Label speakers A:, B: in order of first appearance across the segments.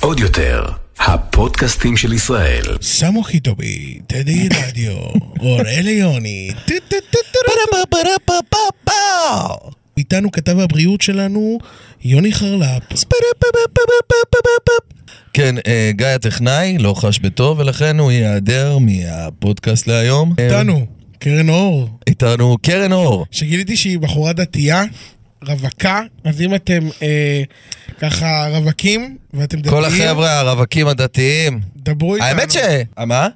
A: עוד יותר, הפודקאסטים של ישראל.
B: סמו חיטובי, טדי רדיו, אוראל יוני, טו, טו, טו, טו, טו, טו. איתנו כתב הבריאות שלנו, יוני חרלפ.
C: כן, אה, גיא הטכנאי לא חש בטוב, ולכן הוא ייעדר מהפודקאסט להיום. אה,
B: איתנו, קרן אור,
C: איתנו קרן אור.
B: שגיליתי שהיא בחורה דתייה, רווקה, אז אם אתם אה, ככה רווקים, ואתם דתיים,
C: כל החבר'ה הרווקים הדתיים.
B: דברו איתנו.
C: האמת ש... אה, מה?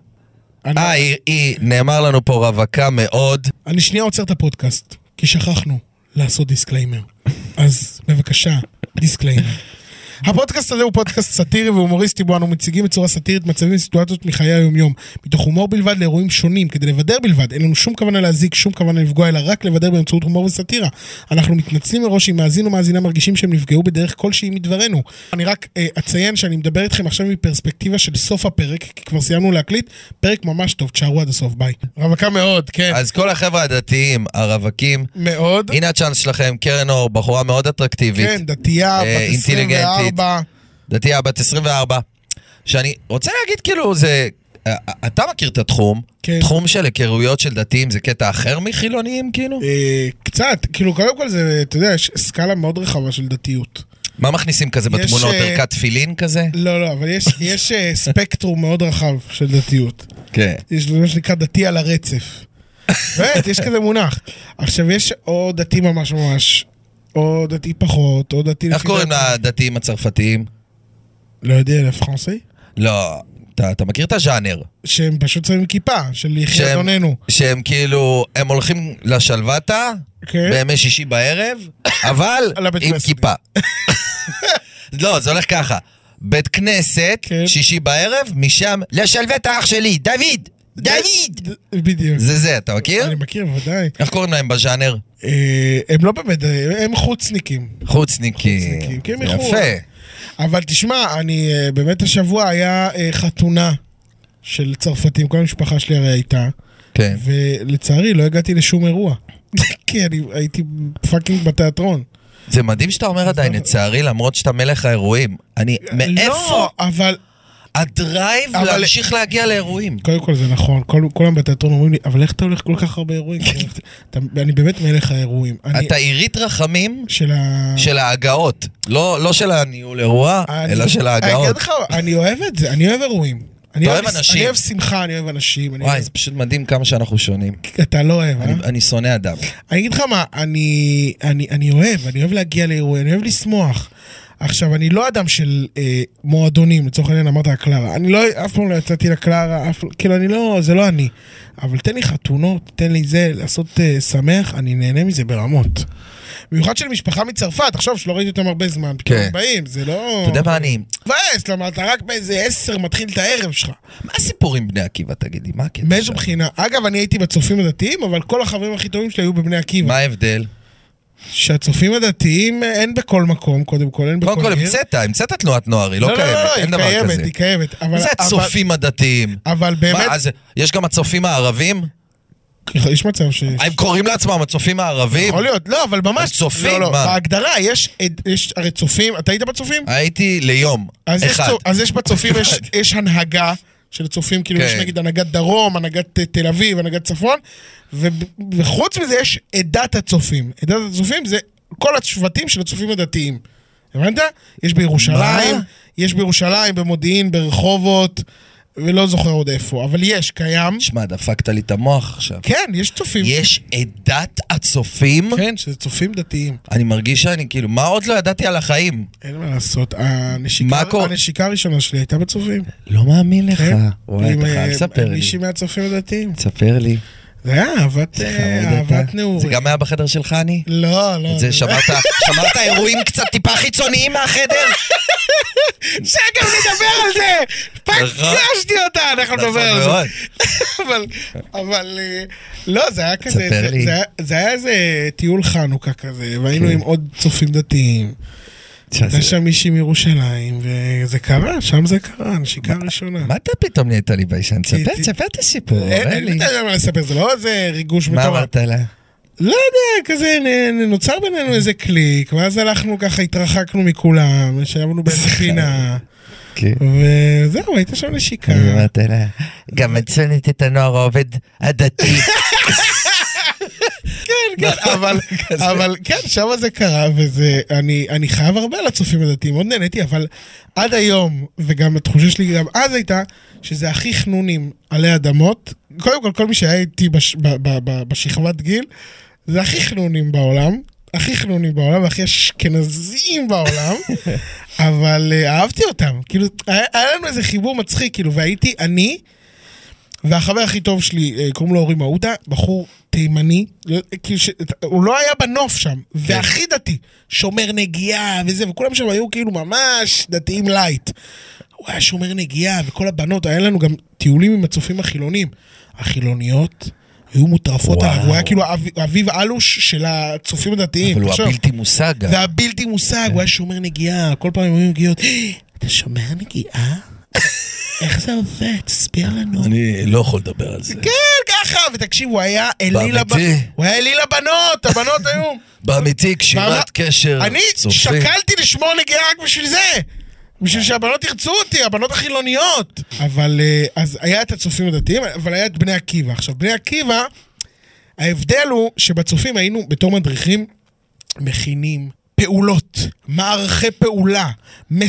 B: אני,
C: אה, היא- היא, נאמר לנו פה רווקה מאוד.
B: אני שנייה עוצר את הפודקאסט, כי שכחנו לעשות דיסקליימר. אז בבקשה, דיסקליימר. הפודקאסט הזה הוא פודקאסט סאטירי והומוריסטי בו אנו מציגים בצורה סאטירית מצבים וסיטואציות מחיי היומיום. מתוך הומור בלבד לאירועים שונים, כדי לבדר בלבד, אין לנו שום כוונה להזיק, שום כוונה לפגוע, אלא רק לבדר באמצעות הומור וסאטירה. אנחנו מתנצלים מראש אם מאזין או מאזינה מרגישים שהם נפגעו בדרך כלשהי מדברנו. אני רק אה, אציין שאני מדבר איתכם עכשיו מפרספקטיבה של סוף הפרק, כי כבר סיימנו להקליט, פרק ממש טוב, תשארו עד הסוף, ביי. רווקה מאוד, כן.
C: אז כל החבר'ה הדתיים, הרווקים,
B: מאוד.
C: הנה הצ'אנס שלכם, קרן אור, בחורה מאוד אטרקטיבית.
B: כן, דתייה,
C: אה,
B: בת
C: אינטליגנטית.
B: 24.
C: דתייה בת 24, שאני רוצה להגיד כאילו זה, אתה מכיר את התחום,
B: כן.
C: תחום של היכרויות של דתיים זה קטע אחר מחילוניים כאילו?
B: אה, קצת, כאילו, קודם כל זה, אתה יודע, יש סקאלה מאוד רחבה של דתיות.
C: מה מכניסים כזה
B: יש,
C: בתמונות,
B: אה,
C: ערכת תפילין כזה?
B: לא, לא, אבל יש- יש אה, ספקטרום מאוד רחב של דתיות.
C: כן.
B: יש מה שנקרא דתי על הרצף. באמת, יש כזה מונח. עכשיו, יש או דתי ממש ממש, או דתי פחות, או דתי...
C: איך
B: לפי
C: קוראים
B: דעתי.
C: לדתיים הצרפתיים?
B: לא יודע, לפרנסי?
C: לא, אתה אתה מכיר את הז'אנר?
B: שהם פשוט שמים כיפה, של יחי
C: שהם-
B: אדוננו.
C: שהם כאילו, הם הולכים לשלוותה
B: כן.
C: בימי שישי בערב, אבל
B: על הבית
C: עם
B: כנסת.
C: כיפה. לא, זה הולך ככה. בית כנסת,
B: כן.
C: שישי בערב, משם לשלוות האח שלי, דוד! דוד!
B: בדיוק.
C: זה זה, אתה מכיר?
B: אני מכיר, בוודאי.
C: איך קוראים להם בז'אנר?
B: אה, הם לא באמת, אה, הם חוצניקים.
C: חוצניקים.
B: חוצניקים, כן, מחו"ל.
C: יפה.
B: אבל תשמע, אני אה, באמת השבוע היה אה, חתונה של צרפתים, כל המשפחה שלי הרי הייתה,
C: כן.
B: ולצערי לא הגעתי לשום אירוע. כי אני הייתי פאקינג בתיאטרון.
C: זה מדהים שאתה אומר עדיין, לצערי, למרות שאתה מלך האירועים. אני, מאיפה
B: לא, אבל...
C: הדרייב
B: אבל-
C: להמשיך להגיע לאירועים?
B: קודם כל זה נכון, כל, כולם בתיאטרון אומרים לי, אבל איך אתה הולך כל כך הרבה אירועים? אתה, אני באמת מלך האירועים. אני,
C: אתה עירית רחמים
B: של ה...
C: של ההגעות. לא לא של הניהול אירוע,
B: אני-
C: אלא של
B: אני
C: ההגעות.
B: אגיד לך, אני אוהב את זה, אני אוהב אירועים. אני
C: אוהב אנשים.
B: אני אוהב שמחה, אני אוהב אנשים. אני
C: וואי,
B: אוהב-
C: זה פשוט מדהים כמה שאנחנו שונים.
B: אתה לא אוהב, אה?
C: אני- אני שונא אדם.
B: אני אגיד לך מה, אני, אני, אני אוהב, אני אוהב להגיע לאירועים, אני אוהב לשמוח. עכשיו, אני לא אדם של אה, מועדונים, לצורך העניין אמרת הקלרה. אני לא, אף פעם לא יצאתי לקלרה, אף, כאילו, אני לא, זה לא אני. אבל תן לי חתונות, תן לי זה, לעשות אה, שמח, אני נהנה מזה ברמות. במיוחד של משפחה מצרפת, עכשיו, שלא ראיתי אותם הרבה זמן, פתאום
C: כן.
B: הם באים, זה לא...
C: אתה יודע מה אני...
B: מבאס, למה אתה רק באיזה עשר מתחיל את הערב שלך.
C: מה הסיפור עם בני עקיבא, תגידי? מה הקטע
B: מאיזו
C: שם?
B: בחינה? אגב, אני הייתי בצופים הדתיים, אבל כל החברים הכי טובים שלי היו בבני עקיבא.
C: מה ההבדל?
B: שהצופים הדתיים אה, אין בכל מקום, קודם כל, אין בכל עיר.
C: קודם כל, המצאת, המצאת תנועת נוער, היא לא
B: לא, לא,
C: קיימת,
B: לא, היא
C: אין דבר
B: קיימת,
C: כזה.
B: היא קיימת. אבל-
C: זה
B: אבל-
C: הצופים הדתיים.
B: אבל באמת,
C: מה, אז יש גם הצופים הערבים?
B: יש מצב שיש.
C: הם קוראים לעצמם הצופים הערבים?
B: יכול להיות, לא, אבל ממש...
C: הצופים,
B: לא, לא,
C: מה?
B: בהגדרה, יש, עד- יש הרי צופים, אתה היית בצופים?
C: הייתי ליום,
B: אז יש,
C: אחד.
B: צופ, אז יש בצופים, יש, יש הנהגה של צופים, כאילו
C: כן.
B: יש נגיד הנהגת דרום, הנהגת אה, תל אביב, הנהגת צפון, ו, וחוץ מזה יש עדת הצופים. עדת הצופים זה כל השבטים של הצופים הדתיים. הבנת? יש בירושלים,
C: מה?
B: יש בירושלים, במודיעין, ברחובות, ולא זוכר עוד איפה, אבל יש, קיים.
C: שמע, דפקת לי את המוח עכשיו.
B: כן, יש צופים.
C: יש עדת הצופים?
B: כן, שזה צופים דתיים.
C: אני מרגיש שאני כאילו, מה עוד לא ידעתי על החיים?
B: אין מה לעשות. הנשיקה,
C: מה קורה?
B: הנשיקה הראשונה שלי הייתה בצופים.
C: לא מאמין לך.
B: כן.
C: וואי,
B: עם,
C: אתה חייב
B: אה,
C: לספר לי.
B: מישהי מהצופים הדתיים.
C: תספר לי.
B: זה היה אהבת, אה,
C: חמוד
B: אהבת
C: אתה.
B: נעורים.
C: זה גם היה בחדר שלך, אני?
B: לא, לא.
C: את זה שמרת, שמרת אירועים קצת טיפה חיצוניים מהחדר?
B: שקר, נדבר על זה! פגשתי אותה, אנחנו נדבר על זה.
C: נכון. מאוד.
B: אבל, אבל, אה, לא, זה היה כזה,
C: תספר
B: זה-
C: לי. כן.
B: זה היה- זה היה איזה טיול חנוכה כזה, והיינו עם עוד צופים דתיים. הייתה שם מישהי מירושלים, וזה קרה, שם זה קרה, נשיקה ראשונה.
C: מה אתה פתאום נהיית לי ביישן? תספר,
B: כי-
C: תספר את הסיפור,
B: אין
C: אין לי.
B: אין לי מה לספר, זה לא איזה ריגוש
C: מה
B: מטורף.
C: אמרת לה?
B: לא יודע, כזה נ- נ- נוצר בינינו איזה קליק, ואז הלכנו ככה, התרחקנו מכולם, ישבנו באיזה פינה,
D: כן.
B: וזהו, הייתה שם נשיקה.
D: אז אמרת לה, גם את שונאת את הנוער העובד הדתי.
C: נכון.
B: כן, אבל, אבל כן, שם זה קרה, וזה, אני, אני חייב הרבה לצופים הדתיים, מאוד נהניתי, אבל עד היום, וגם התחושה שלי גם אז הייתה, שזה הכי חנונים עלי אדמות. קודם כל, כל מי שהיה איתי בש, ב, ב, ב, בשכבת גיל, זה הכי חנונים בעולם, הכי חנונים בעולם, והכי אשכנזים בעולם, אבל אה, אהבתי אותם. כאילו, היה, היה לנו איזה חיבור מצחיק, כאילו, והייתי אני, והחבר הכי טוב שלי, אה, קוראים לו אורי מעודה, בחור תימני, לא- כאילו ש- הוא לא היה בנוף
C: כן.
B: שם, והכי דתי, שומר נגיעה וזה, וכולם שם היו כאילו ממש דתיים לייט. הוא היה שומר נגיעה, וכל הבנות, היה לנו גם טיולים עם הצופים החילונים. החילוניות היו מוטרפות
C: וואו.
B: עליו, הוא היה כאילו אב- אביב אלוש של הצופים הדתיים.
C: אבל הוא
B: תחשוב.
C: הבלתי כן. מושג אה. גם.
B: זה הבלתי מושג, הוא היה שומר נגיעה, כל פעם היו מגיעות, אתה שומר נגיעה? איך זה עובד? תסביר לנו.
C: אני לא יכול לדבר על זה.
B: כן, ככה, ותקשיב, הוא היה אליל הבנות,
C: באמיתי?
B: הוא היה אליל הבנות, הבנות היו.
C: באמיתי, קשירת קשר,
B: אני
C: צופי.
B: שקלתי לשמור נגיעה רק בשביל זה. בשביל שהבנות ירצו אותי, הבנות החילוניות. אבל אה, אז היה את הצופים הדתיים, אבל היה את בני עקיבא. עכשיו, בני עקיבא, ההבדל הוא שבצופים היינו, בתור מדריכים, מכינים פעולות, מערכי פעולה,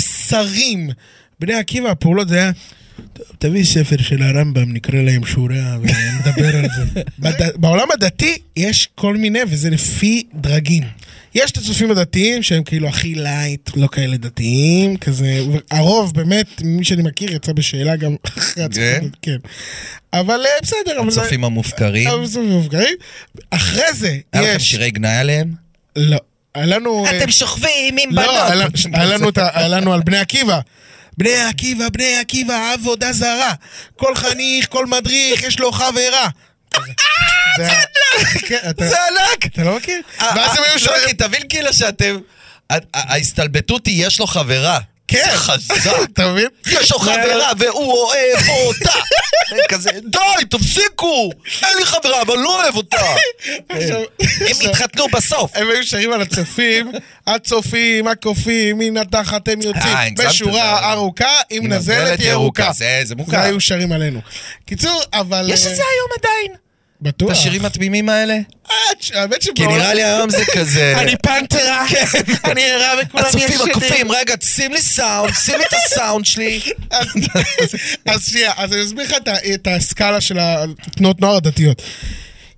B: מסרים. בני עקיבא, הפעולות זה היה... "טוב, תביא ספר של הרמב"ם, נקרא להם שורה ונדבר על זה. בד... בעולם הדתי יש כל מיני, וזה לפי דרגים. יש את הצופים הדתיים שהם כאילו הכי לייט, לא כאלה דתיים, כזה, הרוב באמת, מי שאני מכיר יצא בשאלה גם אחרי
C: כן?
B: הצופים, כן. אבל אה, בסדר, אבל... זה-
C: הצופים המופקרים.
B: הצופים המופגרים. אחרי זה,
C: היה לכם
B: יש...
C: שירי גנאי עליהם?
B: לא, היה לנו... אה,
D: אתם שוכבים עם
B: לא, היה לנו-
D: בנות.
B: היה לנו את ה- היה לנו על בני עקיבא. בני עקיבא, בני עקיבא, עבודה זרה. כל חניך, כל מדריך, יש לו חברה. זה ענק!
C: אה, זה ענק!
B: אתה לא מכיר? ואז הם היו
C: לא,
B: שואלים...
C: כי תבין כאילו שאתם... ה- ה- ההסתלבטות היא יש לו חברה.
B: כן.
C: זה חזק.
B: אתה מבין?
C: יש לו חברה והוא אוהב אותה. כזה, די, תפסיקו! אין לי חברה, אבל לא אוהב אותה. אה,
B: עכשיו-
C: הם התחתנו בסוף.
B: הם היו שרים על הצופים, הצופים, הקופים, מן התחת הם
C: אה,
B: יוצאים,
C: הגזמת,
B: בשורה
C: זה-
B: ארוכה, עם נזלת היא ירוקה.
C: זה- זה מוכר.
B: זה היו שרים עלינו. קיצור, אבל... אה,
C: יש את זה היום עדיין.
B: בטוח.
C: את השירים התמימים האלה?
B: אה, האמת
C: כי
B: שבעולם...
C: נראה לי היום זה כזה... כן.
B: פנתרה, אני ערה וכולם
C: הצופים
B: ישנים.
C: הקופים, רגע, שים לי סאונד, שים לי את הסאונד שלי.
B: אז- אז שנייה, אז אני אסביר לך את ה- את הסקאלה של התנועות נוער הדתיות.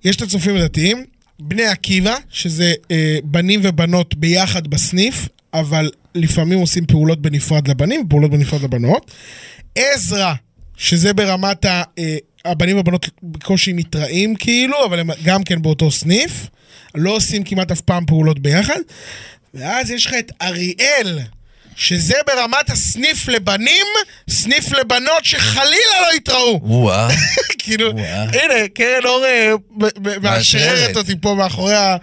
B: יש את הצופים הדתיים, בני עקיבא, שזה אה, בנים ובנות ביחד בסניף, אבל לפעמים עושים פעולות בנפרד לבנים, פעולות בנפרד לבנות. עזרא, שזה ברמת ה... אה, הבנים והבנות בקושי מתראים כאילו, אבל הם גם כן באותו סניף. לא עושים כמעט אף פעם פעולות ביחד. ואז יש לך את אריאל, שזה ברמת הסניף לבנים, סניף לבנות שחלילה לא יתראו.
C: וואה.
B: כאילו,
C: וואו.
B: הנה, קרן אור אה, ב- ב- מאשררת
C: מאשררת.
B: אותי פה מאחורי ה- ה-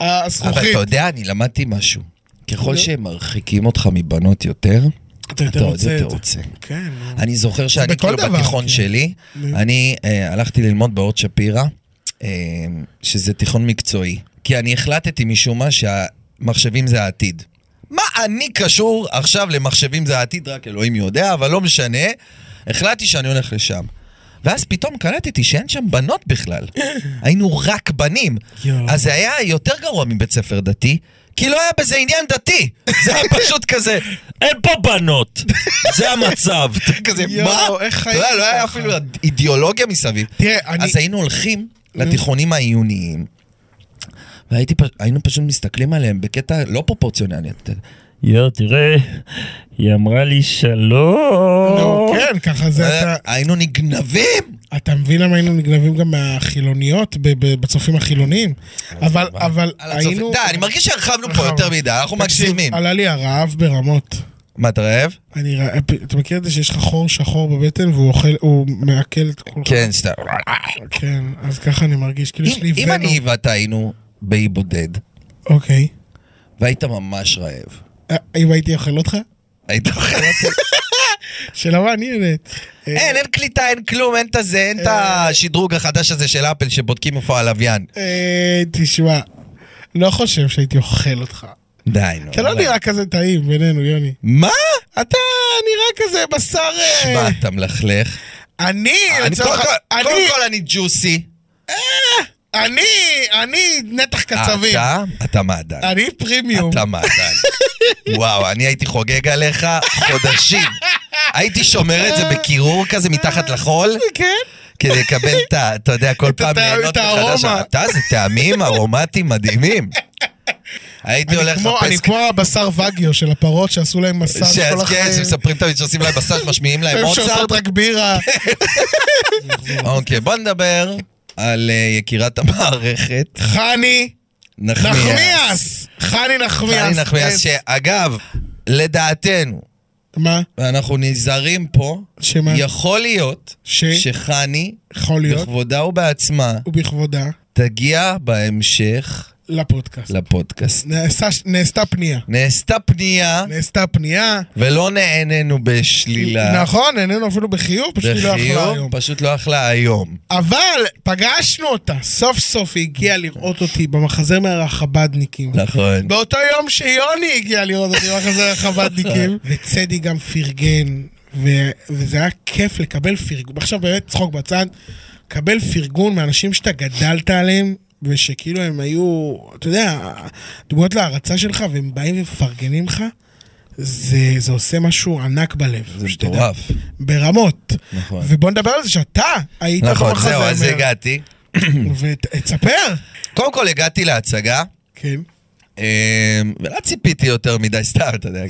C: אבל
B: הזכוכית.
C: אתה יודע, אני למדתי משהו. ככל שהם מרחיקים אותך מבנות יותר, אתה עוד יותר רוצה.
B: כן, נו.
C: אני זוכר שאני
B: בכל
C: כאילו
B: דבר,
C: בתיכון
B: כן.
C: שלי, אני אה, הלכתי ללמוד באורט שפירא, אה, שזה תיכון מקצועי. כי אני החלטתי משום מה שהמחשבים זה העתיד. מה אני קשור עכשיו למחשבים זה העתיד, רק אלוהים יודע, אבל לא משנה. החלטתי שאני הולך לשם. ואז פתאום קלטתי שאין שם בנות בכלל. היינו רק בנים.
B: יואו.
C: אז זה היה יותר גרוע מבית ספר דתי, כי לא היה בזה עניין דתי. זה היה פשוט כזה, אין פה בנות. זה המצב. אתה כזה,
B: יואו,
C: מה?
B: איך
C: אתה
B: חיים
C: יודע, לא היה
B: ככה?
C: אפילו אידיאולוגיה מסביב.
B: תראה, אני... Mm.
C: אז היינו הולכים לתיכונים העיוניים, והיינו פשוט מסתכלים עליהם בקטע לא פרופורציונלי. אתה יודע.
E: יואו, תראה, היא אמרה לי
B: נו,
E: שלום.
B: כן, ככה זה
C: אה.
B: אתה...
C: היינו נגנבים!
B: אתה מבין למה היינו נגנבים גם מהחילוניות ב- ב- בצופים החילוניים? אבל, אבל
C: על הצופים.
B: היינו...
C: די, אני מרגיש שהרחבנו פה
B: הרחבנו.
C: יותר מדי, אנחנו
B: תקשיב,
C: מגזימים.
B: עלה לי הרעב ברמות.
C: מה, אתה רעב?
B: אני רע... אתה מכיר את זה שיש לך חור שחור בבטן והוא אוכל, הוא מעכל את כולך?
C: כן, שאתה...
B: כן, אז ככה אני מרגיש, כאילו יש לי
C: אם- אם
B: ונו.
C: אני ואתה היינו באי בודד,
B: אוקיי.
C: והיית ממש רעב,
B: אה, אם הייתי אוכל אותך?
C: היית אוכל אותי?
B: של המעניינת.
C: אין, אין קליטה, אין כלום, אין את הזה, אין את
B: אה.
C: השדרוג החדש הזה של אפל שבודקים איפה הלוויין.
B: אה, תשמע, לא חושב שהייתי אוכל אותך.
C: די, נו.
B: אתה לא נראה כזה טעים בינינו, יוני.
C: מה?
B: אתה נראה כזה בשר... אה,
C: שמע, אתה מלכלך.
B: אני,
C: אני-
B: לצורך-
C: קודם כל-
B: אני-
C: קודם כל אני ג'וסי.
B: אני, אני נתח קצבים.
C: אתה? אתה מעדן.
B: אני פרימיום.
C: אתה מעדן. וואו, אני הייתי חוגג עליך חודשים. הייתי שומר את זה בקירור כזה מתחת לחול,
B: כן?
C: כדי לקבל את ה... אתה יודע, כל
B: את
C: פעם
B: הטע- את
C: ליהנות מחדש.
B: הארומה.
C: אתה, זה טעמים ארומטיים מדהימים. הייתי
B: אני
C: הולך
B: כמו- אני
C: לחפש...
B: כמו הבשר וגיו של הפרות שעשו להם מסאז' כל
C: שאז כן,
B: החיים.
C: שמספרים תמיד שעושים להם בסאז' משמיעים להם
B: הם
C: מוצרט.
B: שותות רק בירה.
C: אוקיי, בוא נדבר על אה, יקירת המערכת,
B: חני
C: נחמיאס.
B: נחמיאס. חני נחמיאס.
C: חני נחמיאס,
B: כן.
C: שאגב, לדעתנו,
B: מה?
C: ואנחנו נזהרים פה,
B: שמה?
C: יכול להיות
B: ש-
C: שחני,
B: יכול להיות.
C: בכבודה ובעצמה,
B: ובכבודה
C: תגיע בהמשך
B: לפודקאסט.
C: לפודקאסט.
B: נעשה- נעשתה פנייה.
C: נעשתה פנייה,
B: נעשתה פנייה.
C: ולא נהנינו בשלילה.
B: נכון, איננו אפילו בחיוב, פשוט היא לא יכלה היום.
C: בחיוב, פשוט לא אכלה היום.
B: אבל פגשנו אותה, סוף סוף היא הגיעה לראות אותי במחזר מהחבדניקים.
C: נכון.
B: באותו יום שיוני הגיע לראות אותי במחזר החבדניקים. וצדי גם פרגן, ו- וזה היה כיף לקבל פרגון. עכשיו באמת צחוק בצד, לקבל פרגון מאנשים שאתה גדלת עליהם. ושכאילו הם היו, אתה יודע, דמויות להערצה שלך, והם באים ומפרגנים לך, זה, זה עושה משהו ענק בלב.
C: זה
B: שתדע.
C: מטורף.
B: ברמות.
C: נכון.
B: ובוא נדבר על זה שאתה היית
C: נכון,
B: במחזמר.
C: זהו, אז הגעתי.
B: ותספר.
C: קודם כל הגעתי להצגה.
B: כן.
C: אמ, ולא ציפיתי יותר מדי, סתם, אתה יודע.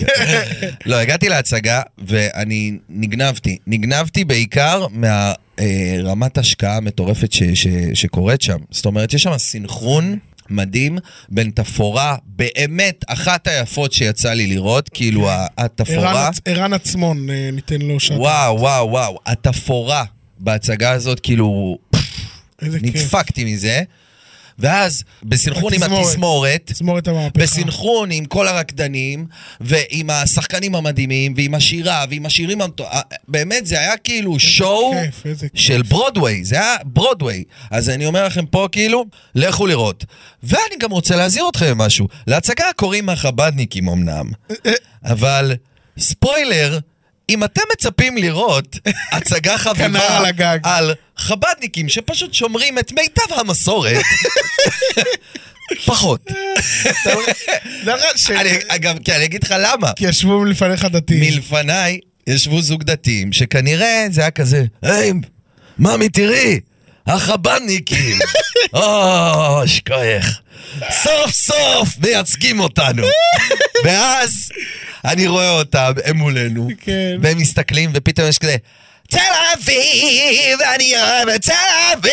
C: לא, הגעתי להצגה, ואני נגנבתי. נגנבתי בעיקר מהרמת השקעה המטורפת ש- ש- שקורית שם. זאת אומרת, יש שם סינכרון מדהים בין תפאורה, באמת אחת היפות שיצא לי לראות, כאילו ה- התפאורה.
B: ערן עצ- ערן עצמון, אה, ניתן לו שעת.
C: וואו, וואו, וואו, התפאורה בהצגה הזאת, כאילו,
B: איזה כיף.
C: נדפקתי מזה. ואז, בסינכרון עם
B: התזמורת.
C: התזמורת,
B: תזמור את המהפכה.
C: בסינכרון עם כל הרקדנים, ועם השחקנים המדהימים, ועם השירה, ועם השירים המטו... אה, באמת, זה היה כאילו שואו
B: כיף, איזה כיף.
C: של ברודוויי, זה היה ברודוויי. אז אני אומר לכם פה, כאילו, לכו לראות. ואני גם רוצה להזהיר אתכם ממשהו. להצגה קוראים החבדניקים אמנם,
B: אה,
C: אבל ספוילר, אם אתם מצפים לראות הצגה
B: כנר
C: חביבה
B: על הגג.
C: על חבדניקים שפשוט שומרים את מיטב המסורת, פחות.
B: לא רק ש-
C: אני- אגב, כי אני אגיד לך למה.
B: כי ישבו לפניך דתיים.
C: מלפניי ישבו זוג דתיים, שכנראה זה היה כזה, היי, ממי, תראי, החב"ניקים, או, שכוח, סוף סוף מייצגים אותנו. ואז אני רואה אותם, הם מולנו,
B: כן.
C: והם מסתכלים, ופתאום יש כזה... תל אביב, אני אוהב את תל אביב,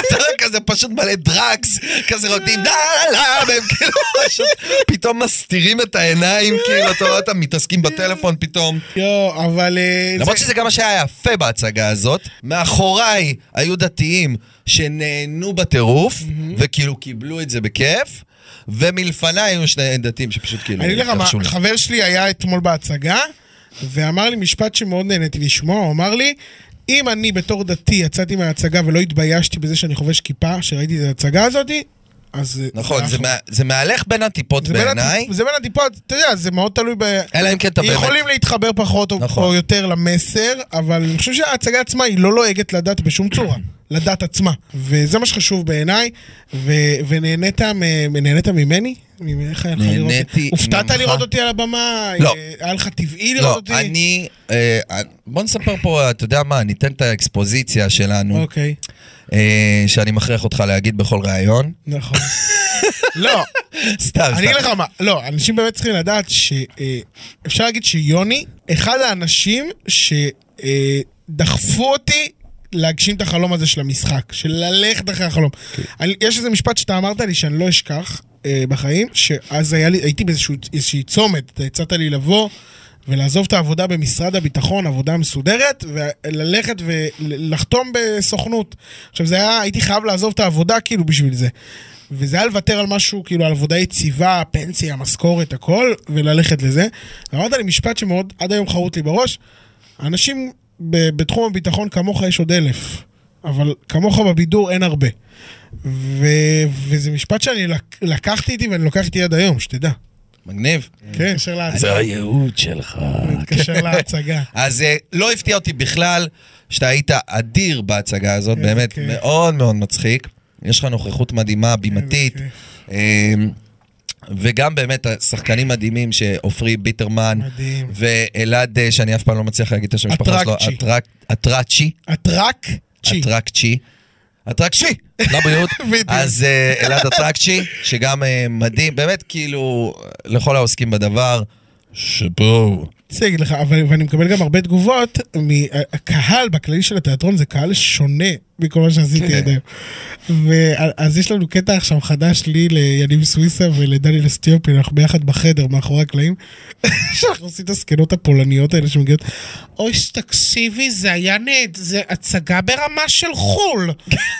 C: אתה יודע, כזה פשוט מלא דרגס, כזה רוקדים לה לה, והם כאילו פשוט פתאום מסתירים את העיניים, כאילו, אתה רואה אותם מתעסקים בטלפון פתאום.
B: יואו, אבל... אה,
C: למרות
B: זה-
C: שזה גם מה שהיה יפה בהצגה הזאת, מאחוריי היו דתיים שנהנו בטירוף, וכאילו קיבלו את זה בכיף, ומלפניי היו שני דתיים שפשוט כאילו...
B: אני אגיד לך
C: התרגשו
B: מה,
C: לי.
B: חבר שלי היה אתמול בהצגה, ואמר לי משפט שמאוד נהניתי לשמוע, הוא אמר לי, אם אני בתור דתי יצאתי מההצגה ולא התביישתי בזה שאני חובש כיפה, שראיתי את ההצגה הזאת, אז... אה,
C: נכון,
B: היה
C: זה
B: חו-
C: מה- זה מהלך בין הטיפות
B: זה בין הטיפ-
C: בעיניי,
B: זה בין הטיפות, אתה יודע, זה מאוד תלוי ב...
C: אלא אם כן אתה באמת...
B: יכולים להתחבר פחות או,
C: נכון.
B: או יותר למסר, אבל אני חושב שההצגה עצמה היא לא לועגת לדת בשום צורה, לדת עצמה. וזה מה שחשוב בעיניי, ו- ונהנית מ- נהנית ממני? ממ- איך היה לך לראות
C: נהניתי
B: אותי? הופתעת
C: ממך.
B: לראות אותי על הבמה?
C: לא.
B: אה, היה לך טבעי לראות
C: לא,
B: אותי?
C: אני... אה, בוא נספר פה, אתה יודע מה, ניתן את האקספוזיציה שלנו,
B: אוקיי,
C: אה, שאני מכריח אותך להגיד בכל ראיון.
B: נכון. לא,
C: סתם, סתם.
B: אני אגיד לך מה, לא, אנשים באמת צריכים לדעת שאפשר להגיד שיוני, אחד האנשים שדחפו אותי להגשים את החלום הזה של המשחק, של ללכת אחרי החלום. אני- יש איזה משפט שאתה אמרת לי שאני לא אשכח אה, בחיים, שאז היה לי, הייתי באיזושהי צומת, אתה הצעת לי לבוא. ולעזוב את העבודה במשרד הביטחון, עבודה מסודרת, וללכת ולחתום בסוכנות. עכשיו, זה היה, הייתי חייב לעזוב את העבודה כאילו בשביל זה. וזה היה לוותר על משהו, כאילו, על עבודה יציבה, פנסיה, משכורת, הכל, וללכת לזה. ואמרת לי משפט שמאוד, עד היום חרוט לי בראש, אנשים ב- בתחום הביטחון כמוך יש עוד אלף, אבל כמוך בבידור אין הרבה. ו- וזה משפט שאני לק- לקחתי איתי ואני לוקח איתי עד היום, שתדע.
C: מגניב.
B: כן, קשר להצגה.
E: זה הייעוד שלך.
B: קשר להצגה.
C: אז אה, לא הפתיע אותי בכלל שאתה היית אדיר בהצגה הזאת, באמת
B: כיף.
C: מאוד מאוד מצחיק. יש לך נוכחות מדהימה, בימתית.
B: כיף.
C: אה, וגם באמת שחקנים מדהימים שעופרי ביטרמן
B: מדהים.
C: ואלעד, אה, שאני אף פעם לא מצליח להגיד את השם המשפחה שלו,
B: אטרקצ'י.
C: אטרק- אטרקצ'י,
B: אטרק צ'י.
C: אטרקצ'י, אטרקצ'י, לבריאות,
B: בדיוק.
C: לא אז אה, אלעד אטרקצ'י, שגם אה, מדהים, באמת כאילו, לכל העוסקים בדבר, שאפו.
B: רוצה להגיד לך, אבל ואני מקבל גם הרבה תגובות, מהקהל בכללי של התיאטרון זה קהל שונה מכל מה שעשיתי
C: כן.
B: עד היום. ו- אז יש לנו קטע עכשיו חדש לי ליניב סוויסה ולדניאל אסטיופי, אנחנו ביחד בחדר מאחורי הקלעים, שאנחנו עושים את הזקנות הפולניות האלה שמגיעות, אוי תקשיבי זה היה נהד, זה הצגה ברמה של חול.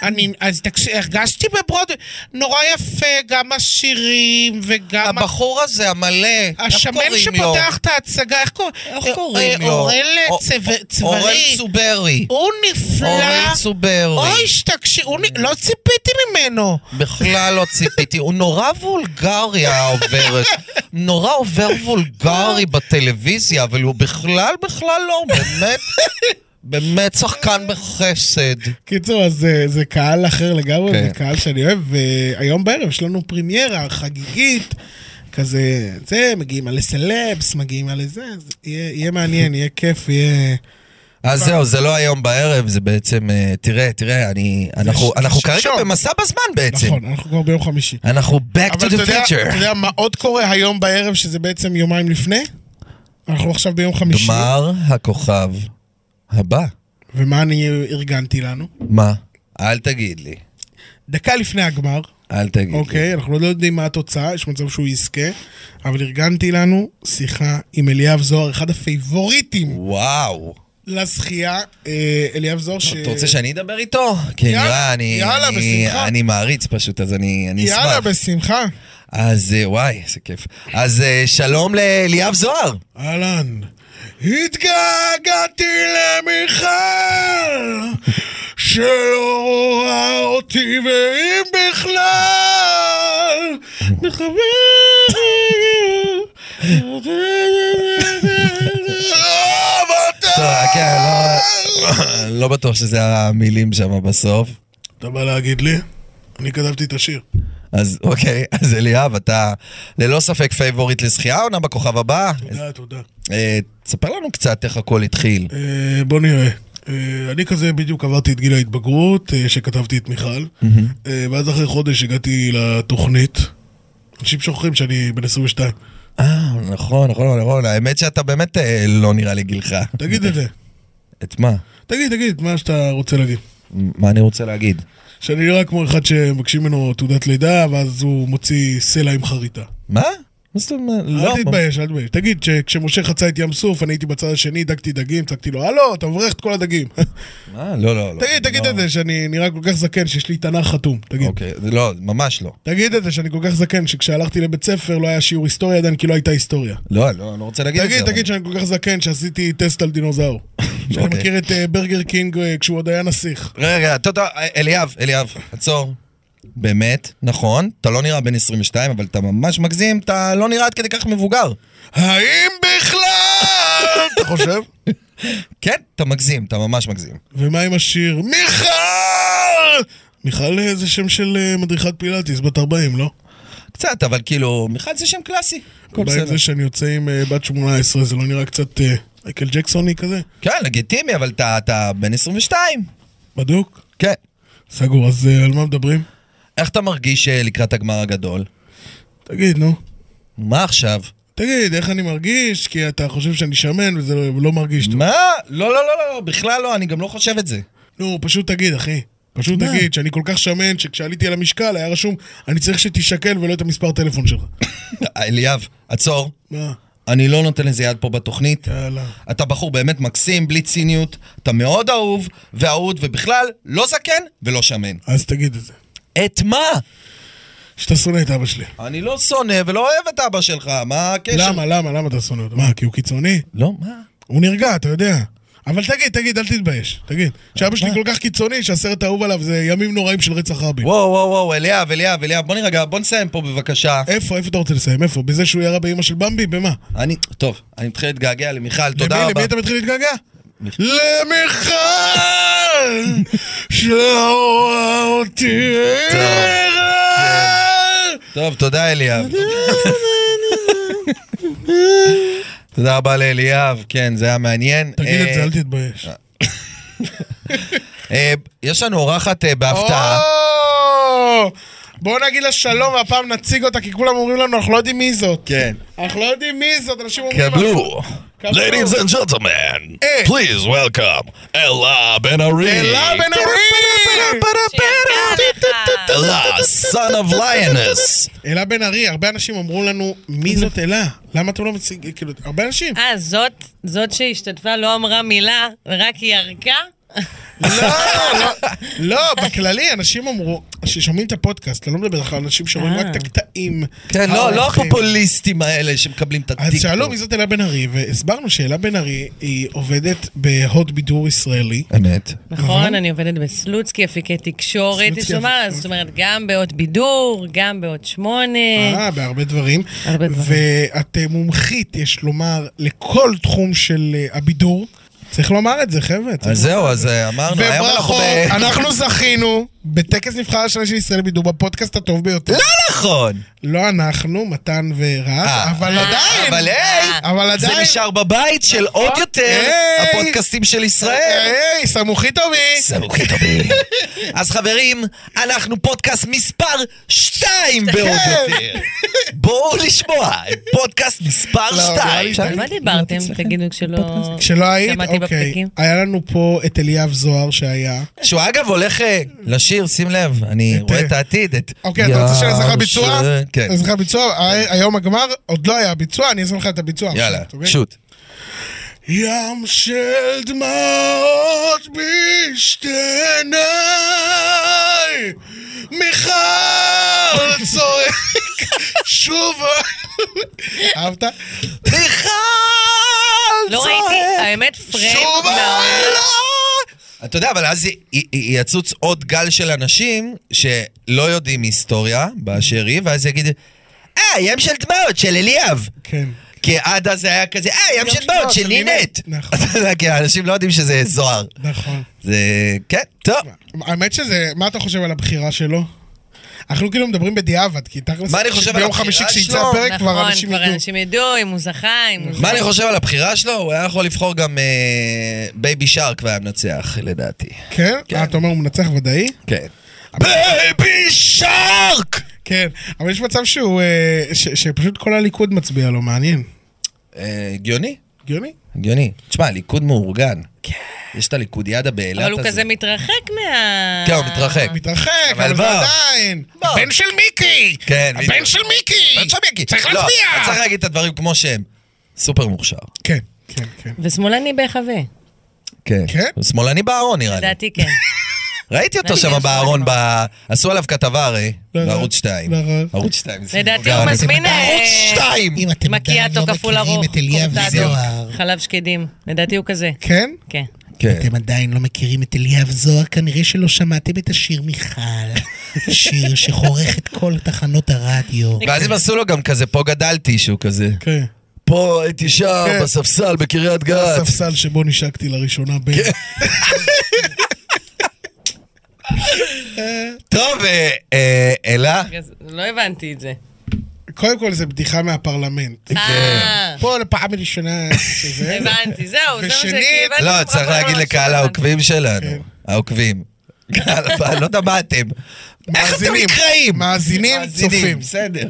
B: אני, אז תקשיב, הרגשתי בברוד, נורא יפה, גם השירים וגם...
C: הבחור הזה המלא, איך
B: השמן
C: קוראים לו?
B: שפותח את ההצגה, איך קורא-
C: איך
B: אה,
C: קוראים
B: אה,
C: לו?
B: אוראל
C: או-
B: צב-
C: או-
B: צברי.
C: אורל צוברי.
B: הוא נפלא.
C: אורל צוברי.
B: אוי, שתקשיב, הוא נ- לא ציפיתי ממנו.
C: בכלל לא ציפיתי, הוא נורא וולגרי העוברת, נורא עובר וולגרי בטלוויזיה, אבל הוא בכלל בכלל לא, הוא באמת, באמת שחקן בחסד.
B: קיצור, אז זה- זה קהל אחר לגמרי,
C: כן.
B: זה קהל שאני אוהב, והיום בערב יש לנו פרימיירה חגיגית. כזה, זה, מגיעים מלא סלבס, מגיעים מלא זה, אז יהיה יהיה מעניין, יהיה כיף, יהיה...
C: כן. אז זהו, זה לא היום בערב, זה בעצם, אה, תראה, תראה, אני, אנחנו,
B: ש-
C: אנחנו
B: שלשום.
C: כרגע במסע בזמן בעצם.
B: נכון, אנחנו כבר ביום חמישי.
C: אנחנו back to
B: אבל אתה
C: the
B: יודע-
C: future.
B: אתה יודע מה עוד קורה היום בערב, שזה בעצם יומיים לפני? אנחנו עכשיו ביום חמישי.
C: גמר הכוכב הבא.
B: ומה אני ארגנתי לנו?
C: מה? אל תגיד לי.
B: דקה לפני הגמר,
C: אל תגיד לי.
B: אוקיי, אנחנו עוד לא יודעים מה התוצאה, יש מצב שהוא יזכה, אבל ארגנתי לנו שיחה עם אליאב זוהר, אחד הפייבוריטים
C: וואו.
B: לזכייה, אה, אליאב זוהר ש...
C: אתה רוצה שאני אדבר איתו? כן,
B: יאללה,
C: נראה, אני...
B: יאללה,
C: אני-
B: בשמחה.
C: אני מעריץ פשוט, אז אני אני אשמח.
B: יאללה, בשמחה.
C: אז אה, וואי, איזה כיף. אז אה, שלום לאליאב זוהר.
B: אהלן. התגעגעתי למיכל, שלא רואה אותי ואם בכלל, אה,
C: טוב,
B: מחבר...
C: כן, לא- לא בטוח שזה המילים שם בסוף.
B: אתה בא להגיד לי? אני כתבתי את השיר.
C: אז אוקיי, אז אליאב, אתה ללא ספק פייבוריט לזכייה, עונה בכוכב הבא.
B: תודה, תודה.
C: אה, תספר לנו קצת איך הכל התחיל.
B: אה, בוא נראה. אה, אני כזה בדיוק עברתי את גיל ההתבגרות, אה, שכתבתי את מיכל, אה, ואז אחרי חודש הגעתי לתוכנית. אנשים שוכחים שאני בן 22.
C: אה, נכון, נכון, נכון, האמת שאתה באמת אה, לא נראה לי גילך.
B: תגיד את זה.
C: את מה?
B: תגיד, תגיד, מה שאתה רוצה להגיד.
C: מה אני רוצה להגיד?
B: שאני נראה כמו אחד שמבקשים ממנו תעודת לידה, ואז הוא מוציא סלע עם חריטה.
C: מה? מה זאת אומרת? לא.
B: אל תתבייש, אל תתבייש. תגיד, שכשמשה חצה את ים סוף, אני הייתי בצד השני, דגתי דגים, צעקתי לו, הלו, אתה מברך את כל הדגים.
C: מה? לא, לא, לא.
B: תגיד, תגיד
C: לא.
B: את זה, שאני נראה כל כך זקן, שיש לי תנ"ך חתום. תגיד.
C: אוקיי, זה לא, ממש לא.
B: תגיד את זה שאני כל כך זקן, שכשהלכתי לבית ספר לא היה שיעור היסטוריה עדיין, כי לא הייתה היסטוריה.
C: לא, לא, אני לא רוצה להגיד את זה.
B: תגיד,
C: אבל-
B: תגיד שאני כל כך זקן שעשיתי טסט על דינוזאור. שאני
C: אוקיי.
B: מכיר את אה, ברגר קינג אה, כשהוא עוד היה נסיך.
C: רגע, תודה, אליאב, אליאב, עצור. באמת, נכון, אתה לא נראה בן 22, אבל אתה ממש מגזים, אתה לא נראה עד כדי כך מבוגר.
B: האם בכלל? אתה חושב?
C: כן, אתה מגזים, אתה ממש מגזים.
B: ומה עם השיר? מיכל! מיכל אה, זה שם של אה, מדריכת פילאטיס, בת 40, לא?
C: קצת, אבל כאילו, מיכל זה שם קלאסי. הכל
B: אולי עם
C: בסדר.
B: זה שאני יוצא עם אה, בת 18, זה לא נראה קצת אה, מייקל ג'קסוני כזה?
C: כן, לגיטימי, אבל אתה- אתה בן 22.
B: בדוק?
C: כן.
B: סגור, אז אה, על מה מדברים?
C: איך אתה מרגיש אה, לקראת הגמר הגדול?
B: תגיד, נו.
C: מה עכשיו?
B: תגיד, איך אני מרגיש? כי אתה חושב שאני שמן וזה לא, לא מרגיש טוב.
C: מה? לא, לא, לא, לא, בכלל לא, אני גם לא חושב את זה.
B: נו, פשוט תגיד, אחי. פשוט
C: מה?
B: תגיד שאני כל כך שמן שכשעליתי על המשקל היה רשום אני צריך שתישקל ולא את המספר טלפון שלך.
C: אליאב, עצור.
B: מה?
C: אני לא נותן לזה יד פה בתוכנית.
B: יאללה.
C: אתה בחור באמת מקסים, בלי ציניות, אתה מאוד אהוב ואהוד, ובכלל, לא זקן ולא שמן.
B: אז תגיד את זה.
C: את מה?
B: שאתה שונא את אבא שלי.
C: אני לא שונא ולא אוהב את אבא שלך, מה הקשר?
B: למה, למה, למה אתה שונא אותו? מה, כי הוא קיצוני?
C: לא, מה?
B: הוא נרגע, אתה יודע. אבל תגיד, תגיד, אל תתבייש. תגיד. שאבא שלי כל כך קיצוני שהסרט האהוב עליו זה ימים נוראים של רצח רבין.
C: וואו, וואו, וואו, אליאב, אליאב, אליאב, בוא נירגע, בוא נסיים פה בבקשה.
B: איפה, איפה אתה רוצה לסיים? איפה? בזה שהוא ירה באימא של במבי? במה?
C: אני, טוב, אני מתחיל להתגעגע למיכל, תודה
B: למי,
C: רבה.
B: למי אתה מתחיל להתגעגע? למיכל! שרואה אותי!
C: טוב, כן. טוב, תודה אליאב. תודה רבה לאליאב, כן, זה היה מעניין.
B: תגיד את
C: אה,
B: זה, אל תתבייש.
C: אה, יש לנו אורחת אה, בהפתעה.
B: או! בואו נגיד לה שלום, והפעם נציג אותה, כי כולם אומרים לנו, אנחנו לא יודעים מי זאת.
C: כן.
B: אנחנו לא יודעים מי זאת, אנשים אומרים לנו...
F: Kablu.
B: קבלו.
F: Ladies and gentlemen,
B: Eh.
F: please welcome Ella Ben Ari.
B: אלה בן ארי!
F: Ella, son of lioness.
B: אלה בן ארי, הרבה אנשים אמרו לנו, מי זאת אלה? למה אתם לא מציגים? כאילו, הרבה אנשים.
G: אה, זאת, זאת שהשתתפה לא אמרה מילה, רק היא ירקה?
B: לא, לא, לא, בכללי, אנשים אמרו, ששומעים את הפודקאסט, אני לא מדבר איתך על אנשים שרואים רק את הקטעים.
C: כן, לא, לא
B: האורחים.
C: הפופוליסטים האלה שמקבלים את הטיקטוק.
B: אה, אוקיי. אז שאלו מי זאת אלה בן ארי, והסברנו שאלה בן ארי היא עובדת בהוד בידור ישראלי.
C: אמת.
G: נכון, אני עובדת בסלוצקי, אפיקי תקשורת,
B: סלוצקי,
G: יש לומר,
B: אפיקי-
G: זאת אומרת, גם באות בידור, גם באות שמונה.
B: אה, בהרבה דברים.
G: הרבה דברים.
B: ואת אה, מומחית, יש לומר, לכל תחום של אה, הבידור. צריך לומר את זה, חבר'ה. צריך
C: אז זהו, אז אה, אמרנו, היום אנחנו
B: וברכות,
C: ב...
B: אנחנו זכינו בטקס נבחר השנה של ישראל בידור בפודקאסט הטוב ביותר.
C: נכון.
B: לא אנחנו, מתן ורז,
C: אה.
B: אבל עדיין,
C: אבל היי,
G: אה,
B: אבל
C: זה
B: עדיין, נכון.
C: נשאר בבית של עוד יותר
B: היי.
C: הפודקאסטים של ישראל.
B: היי, סמוכי טובי.
C: סמוכי טובי. אז חברים, אנחנו פודקאסט מספר 2 בעוד
B: כן.
C: יותר. בואו לשמוע, פודקאסט מספר
B: לא, נראה לי
C: 2.
G: על מה דיברתם, תגידו, כשלא...
B: כשלא היית,
G: שמעתי
B: אוקיי.
G: בפתקים.
B: היה לנו פה את אליאב זוהר שהיה.
C: שהוא אגב הולך אה, לשיר, שים לב, אני רואה את העתיד, את...
B: אוקיי, אתה רוצה שאני אעשה לך
C: יאו,
B: ביצוע?
C: ש- כן.
B: אעשה לך ביצוע? ה- היום הגמר, עוד לא היה ביצוע, אני אעשה לך את הביצוע.
C: יאללה,
B: עכשיו, אוקיי?
C: שוט.
B: ים של דמעות בשתי עיניי, מיכל צועק שוב. אהבת?
C: מיכל!
G: לא ראיתי, האמת, פריים
B: שוב אה, לא.
G: מהעונה.
C: אתה יודע, אבל אז י- י- י- יצוץ עוד גל של אנשים שלא יודעים היסטוריה באשר היא, ואז יגיד, אה, ים של דמעות של אליאב.
B: כן.
C: כי עד אז זה היה כזה, אה, ים של דמעות של נינט.
B: נכון.
C: אתה יודע, כי האנשים לא יודעים שזה זוהר.
B: נכון.
C: זה... כן, טוב.
B: האמת שזה, מה אתה חושב על הבחירה שלו? אנחנו כאילו מדברים בדיעבד, כי תכלס,
C: מה אני חושב על
B: ביום
C: הבחירה
B: חמישי כשיצא
C: שלו?
B: הפרק לא! כבר
G: נכון,
B: אנשים
G: כבר
B: ידעו.
G: אנשים ידעו אם הוא זכה, אם הוא...
C: מה אני חושב על הבחירה שלו? הוא היה יכול לבחור גם אה, בייבי שרק והיה מנצח, לדעתי.
B: כן? אה, אתה אומר הוא מנצח ודאי?
C: כן. בייבי שרק!
B: כן. אבל יש מצב שהוא, אה, ש- שפשוט כל הליכוד מצביע לו, מעניין.
C: אה, הגיוני,
B: הגיוני?
C: הגיוני. תשמע, ליכוד מאורגן. יש את הליכודיאדה באילת
G: אבל הוא
C: הזה.
G: כזה מתרחק מה...
C: כן, הוא מתרחק.
B: מתרחק,
C: אבל
B: אבל זה
C: בוא.
B: עדיין.
C: בוא.
B: הבן של מיקי!
C: כן,
B: הבן של מיקי! אה, צריך
C: לא,
B: להצביע!
C: צריך להגיד את הדברים כמו שהם. סופר מוכשר.
B: כן, כן, כן.
G: ושמאלני בהיחווה,
B: כן?
C: הוא שמאלני בארון נראה לי.
G: לדעתי כן.
C: ראיתי אותו
G: לדעתי
C: שם
G: כן,
C: בארון,
G: שמאלני
C: ב- עשו עליו כתבה הרי,
B: לא, לא.
C: בערוץ 2.
B: לא, לא.
C: ערוץ 2.
G: לדעתי הוא מזמין... אה,
C: כן. ערוץ 2!
G: מקיאטו כפול ארוך. קורטדו, חלב שקדים. לדעתי הוא כזה.
B: כן?
G: כן.
C: כן.
H: אתם עדיין לא מכירים את אליאב זוהר, כנראה שלא שמעתם את השיר מיכל. שיר שחורך את כל תחנות הרדיו.
C: ואז הם עשו לו גם כזה, פה גדלתי, שהוא כזה.
B: כן.
C: פה הייתי שם,
B: כן.
C: בספסל, בקריית גת.
B: הספסל שבו נשקתי לראשונה ב...
C: טוב, אה, אה, אלה?
G: אז לא הבנתי את זה.
B: קודם כל זה בדיחה מהפרלמנט.
C: כן.
G: אה,
B: פה לפעם ראשונה שזה...
G: הבנתי, זהו, זה מה ש...
B: ושנית-
G: כי הבנתי
C: לא,
G: שהם
C: צריך
G: רק
C: להגיד
G: אמרו
C: לקהל
G: שלא הבנתי.
C: העוקבים
B: כן.
C: שלנו. העוקבים. קהל, אני לא יודע מה אתם. איך אתם
B: מאזינים.
C: נקראים?
B: מאזינים, צופים.
C: בסדר.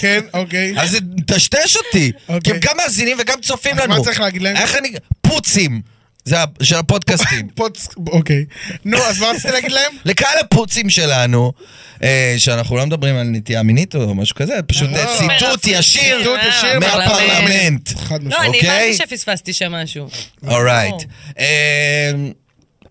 B: כן, אוקיי.
C: אז זה מטשטש אותי.
B: אוקיי.
C: כי הם גם מאזינים וגם צופים
B: אז
C: לנו.
B: מה צריך להגיד להם?
C: איך אני... פוצים. זה ה- של הפודקאסטים.
B: פוץ... אוקיי. נו, אז מה רציתי להגיד להם?
C: לקהל הפוצים שלנו, אה, שאנחנו לא מדברים על נטייה מינית או משהו כזה,
B: לא,
C: פשוט אה, ציטוט
G: מהפרלמנט.
C: ישיר
B: ציטוט ישיר
G: מהפרלמנט.
C: מהפרלמנט.
B: חד
G: לא,
B: משמעית.
G: אני
C: אוקיי.
G: הבנתי שפספסתי שם משהו.
C: אורייט.
B: לא.
C: אה,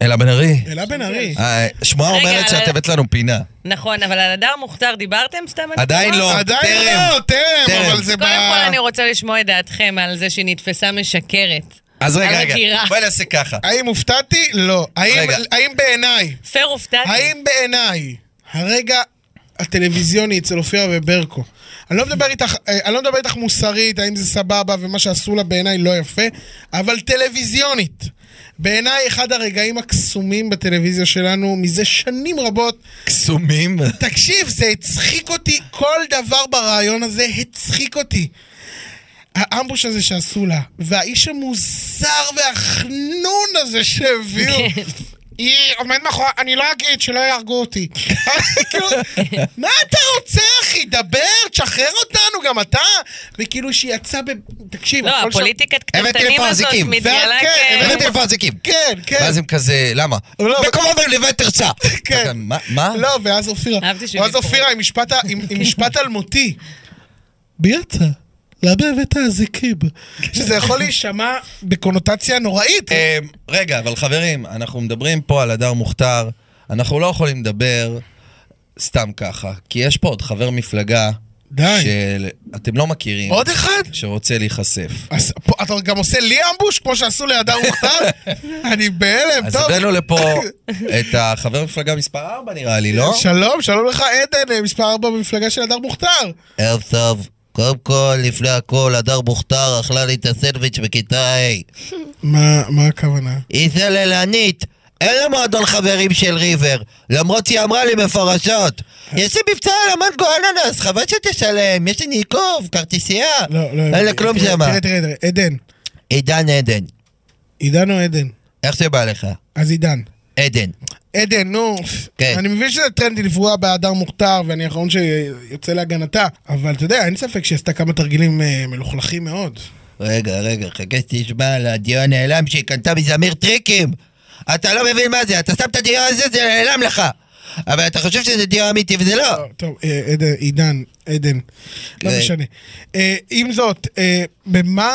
C: אלה בן ארי,
B: אלה
G: כן.
B: בן ארי.
C: אה, שמועה
G: רגע,
C: אומרת שאת
G: אבל-
C: הבאת לנו פינה.
G: נכון, אבל על הדר מוכתר דיברתם סתם? אני כאילו-
C: עדיין
G: תוהה?
C: לא.
B: עדיין
C: טרם.
B: לא, טרם,
C: טרם.
B: אבל זה ב...
G: קודם כל אני רוצה לשמוע את דעתכם על זה שהיא נתפסה משקרת.
C: אז רגע, רגע,
G: המגירה.
C: בואי נעשה ככה.
B: האם הופתעתי? לא. האם-
C: רגע.
B: האם בעיניי,
G: פר הופתעתי.
B: האם בעיניי הרגע הטלוויזיוני אצל אופירה וברקו, אני לא מדבר איתך, אה, אני לא מדבר איתך מוסרית, האם זה סבבה ומה שעשו לה בעיניי לא יפה, אבל טלוויזיונית. בעיניי אחד הרגעים הקסומים בטלוויזיה שלנו מזה שנים רבות.
C: קסומים.
B: תקשיב, זה הצחיק אותי, כל דבר ברעיון הזה הצחיק אותי. האמבוש הזה שעשו לה, והאיש המוזר והחנון הזה שהביאו, היא עומד מאחורי, אני לא אגיד שלא יהרגו אותי. כאילו, מה אתה רוצה, אחי? דבר, תשחרר אותנו, גם אתה. וכאילו שהיא יצאה ב... תקשיב,
G: לא,
B: הכל שם-
G: הפוליטיקת
C: הבאתי
G: קטנטנים
C: לפה
G: הזאת
C: אזיקים.
G: מתגלה
B: ואת- כן,
G: כ...
C: הבאתי לפה אזיקים.
B: כן, כן.
C: ואז הם כזה, למה?
B: לא,
C: מקומו בלבד תרצה.
B: כן.
C: אתה, מה? מה?
B: לא, ואז אופירה.
G: אהבתי שהוא
B: ואז
G: נבחר.
B: אופירה עם משפט ה- עם- עם משפט אלמותי.
H: ביאטה, למה הבאת אזיקים?
B: שזה יכול להישמע בקונוטציה נוראית.
C: אמ, רגע, אבל חברים, אנחנו מדברים פה על הדר מוכתר, אנחנו לא יכולים לדבר סתם ככה, כי יש פה עוד חבר מפלגה,
B: די.
C: שאתם לא מכירים,
B: עוד אחד?
C: שרוצה להיחשף.
B: אז פה, אתה גם עושה לי אמבוש כמו שעשו לידר מוכתר? אני בהלם,
C: אז
B: טוב.
C: הבאנו לפה את החבר מפלגה מספר 4 נראה לי, לא?
B: שלום, שלום לך עדן, אה, מספר 4 במפלגה של הדר מוכתר.
D: ערב טוב. קודם כל, לפני הכל, הדר מוכתר אכלה לי את הסנדוויץ' בכיתה ה'.
B: מה הכוונה?
D: היא זללנית. אין לה מועדון חברים של ריבר, למרות שהיא אמרה לי מפורשות. יש לי מבצע על המנגו אננס, חבל שתשלם, יש לי ניקוב, כרטיסייה.
B: לא, לא.
D: אין לה כלום
B: תראה,
D: שמה.
B: תראה, תראה, תראה, עדן.
D: עידן עדן,
B: עידן או עדן?
D: איך שבא לך?
B: אז עידן.
D: עדן.
B: עדן, נו.
D: כן.
B: אני מבין שזה טרנדי לפגוע בהדר מוכתר, ואני האחרון שיוצא להגנתה, אבל אתה יודע, אין ספק שהיא עשתה כמה תרגילים אה, מלוכלכים מאוד.
D: רגע, רגע, חכה שתשמע על הדיו הנעלם שהיא קנתה מזמיר טריקים. אתה לא מבין מה זה, אתה שם את הדיו הזה, זה נעלם לך. אבל אתה חושב שזה דיו אמיתי וזה לא.
B: טוב, טוב, אה, עדן, עידן, עדן, לא
D: כן.
B: משנה. אה, עם זאת, אה, במה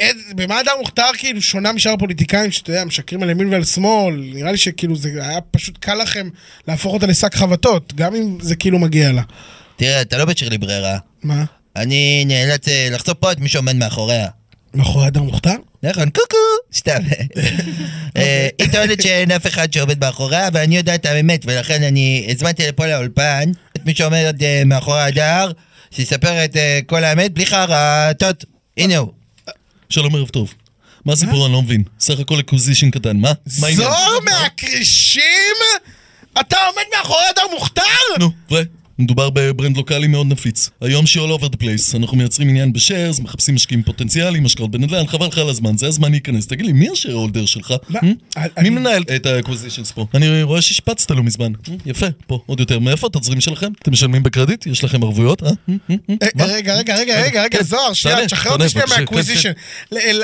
B: עד- במה אדם מוכתר כאילו שונה משאר הפוליטיקאים שאתה יודע, משקרים על ימין ועל שמאל? נראה לי שכאילו זה היה פשוט קל לכם להפוך אותה לשק חבטות, גם אם זה כאילו מגיע לה.
D: תראה, אתה לא בשיר לי ברירה.
B: מה?
D: אני נאלץ אה, לחשוף פה את מי שעומד מאחוריה.
B: מאחורי אדם מוכתר?
D: נכון, קוקו, סתם. אה, היא טוענת שאין אף אחד שעומד מאחוריה, ואני יודע את האמת, ולכן אני הזמנתי לפה לאולפן את מי שעומד אה, מאחורי הדר, שיספר את אה, כל האמת בלי חרטות. הנה הוא.
F: שלום ערב טוב. מה הסיפור? אני לא מבין. סך הכל אקוויזישן קטן, מה? מה העניין?
B: זוהר מהכרישים? אתה עומד מאחורי אדם מוכתר?
F: נו, ו... מדובר בברנד לוקאלי מאוד נפיץ. היום שהיא all over the place. אנחנו מייצרים עניין בשיירס, מחפשים משקיעים פוטנציאליים, השקעות בנדל"ן, חבל לך על הזמן, זה הזמן להיכנס. תגיד לי, מי השייר הולדר שלך?
B: מה?
F: Hmm?
B: אני-
F: מי מנהל את האקוויזישנס פה? אני רואה שהשפצת לא מזמן. Hmm? יפה, פה, עוד יותר. מאיפה התזרים שלכם? אתם משלמים בקרדיט? יש לכם ערבויות? אה? Hmm? Hmm? Hmm?
B: אה, רגע, רגע, רגע, רגע, רגע, זוהר, שנייה,
F: כן, תענה,
B: תשחרר אותי
F: תענה,
B: שנייה
F: בבקשה, כן,
B: מהאקוויזישן.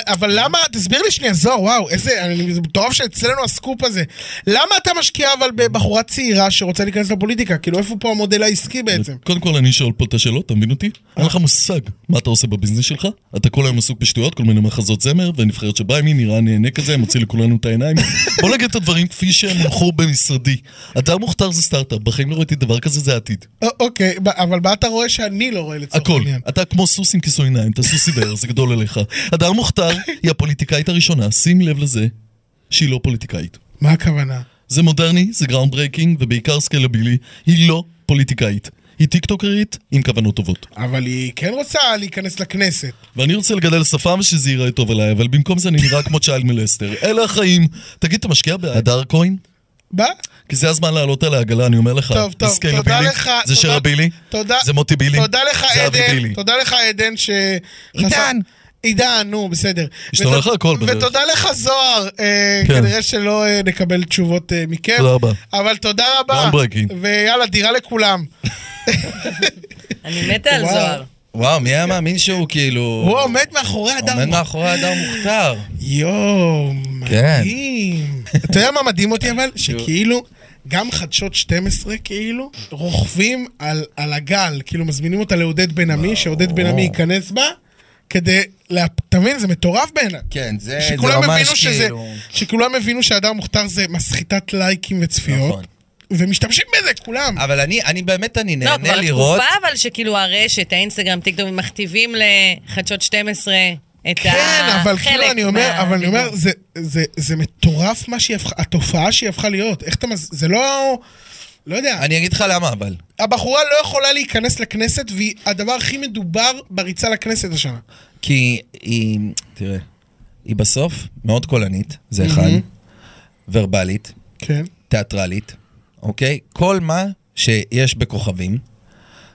B: אבל למה, תסביר לי שנייה, זוהר, וואו, איזה, אני- זה מטורף שאצלנו הסקופ הזה. למה אתה משקיע אבל בבחורה צעירה שרוצה להיכנס לפוליטיקה? כאילו, איפה פה המודל העסקי בעצם?
F: קודם כל אני שואל פה את השאלות, אתה מבין אותי? אין לך מושג מה אתה עושה בביזנס שלך. אתה כל היום עסוק בשטויות, כל מיני מחזות זמר, ונבחרת שבאה ימין, נראה נהנה כזה, מוציא לכולנו את העיניים. בוא נגיד את הדברים כפי שהם הונחו במשרדי. אתר מוכתר זה סטארט-אפ, בחיים לא ראיתי דבר כזה, זה העתיד.
B: א- אוקיי, ב- אבל מה אתה רואה שאני לא רואה לצורך
F: הכל.
B: העניין?
F: אתה כמו סוס עם כיסוי עיניים, אתה סוס עיוור, זה גדול עליך. הדר מוכתר היא הפוליטיקאית הראשונה, שים לב לזה, שהיא לא פוליטיקאית.
B: מה הכוונה?
F: זה מודרני, זה גראונד ברייקינג, ובעיקר סקלבילי, היא לא פוליטיקאית. היא טיקטוקרית עם כוונות טובות.
B: אבל היא כן רוצה להיכנס לכנסת.
F: ואני רוצה לגדל שפה ושזה ייראה טוב עליי, אבל במקום זה אני נראה כמו צ'יילד מלסטר. אלה החיים. תגיד, אתה משקיע בהדר כהן?
B: מה?
F: כי זה הזמן לעלות על העגלה, אני אומר לך.
B: טוב, טוב,
F: זה סקיילה
B: תודה
F: בילי,
B: לך,
F: אה, זה
B: תודה-
F: שרה בילי,
B: תודה.
F: זה מוטי בילי,
B: תודה לך,
F: זה אבי
B: עדן,
F: בילי.
B: תודה לך, עדן, ש... עידן. עידן, נו, בסדר.
F: השתנה
B: ות-
F: לך הכל בדרך.
B: ותודה לך, זוהר. אה,
F: כן.
B: כנראה שלא אה, נקבל תשובות אה, מכם.
F: תודה רבה.
B: אבל תודה רבה.
F: Groundbreaking.
B: ויאללה, דירה לכולם.
G: אני מתה על
B: וואו.
G: זוהר.
C: וואו, מי היה מאמין שהוא כאילו...
B: הוא עומד מאחורי
D: כן.
B: אדם.
C: עומד מאחורי הדר מוכתר.
B: יואו,
C: כן.
B: מדהים. אתה יודע מה מדהים אותי אבל? שכאילו, גם חדשות 12 כאילו, רוכבים על, על הגל, כאילו מזמינים אותה לעודד בן עמי, שעודד בן עמי ייכנס בה, כדי, לה- אתה מבין? זה מטורף בעיניי.
C: כן, זה זה
B: שכולם
C: ממש
B: הבינו שזה,
C: כאילו...
B: שכולם הבינו שהדר מוכתר זה מסחיטת לייקים
C: נכון.
B: וצפיות, ומשתמשים בזה, כולם.
C: אבל אני, אני באמת, אני
G: לא,
C: נהנה
G: כבר
C: לראות...
G: תקופה אבל שכאילו הרשת, האינסטגרם, טיקטוק, הם מכתיבים לחדשות 12, את
B: כן,
C: אה,
B: אבל כאילו,
G: החלק
B: אני אומר,
G: מה-
B: אבל אני אומר, זה- זה- זה מטורף מה שהיא הפכה, התופעה שהיא הפכה להיות. איך אתה מז... זה לא... לא יודע.
C: אני אגיד לך למה, אבל.
B: הבחורה לא יכולה להיכנס לכנסת, והיא הדבר הכי מדובר בריצה לכנסת השנה.
C: כי היא, תראה, היא בסוף מאוד קולנית, זה אחד, ורבלית,
B: כן.
C: תיאטרלית, אוקיי? כל מה שיש בכוכבים.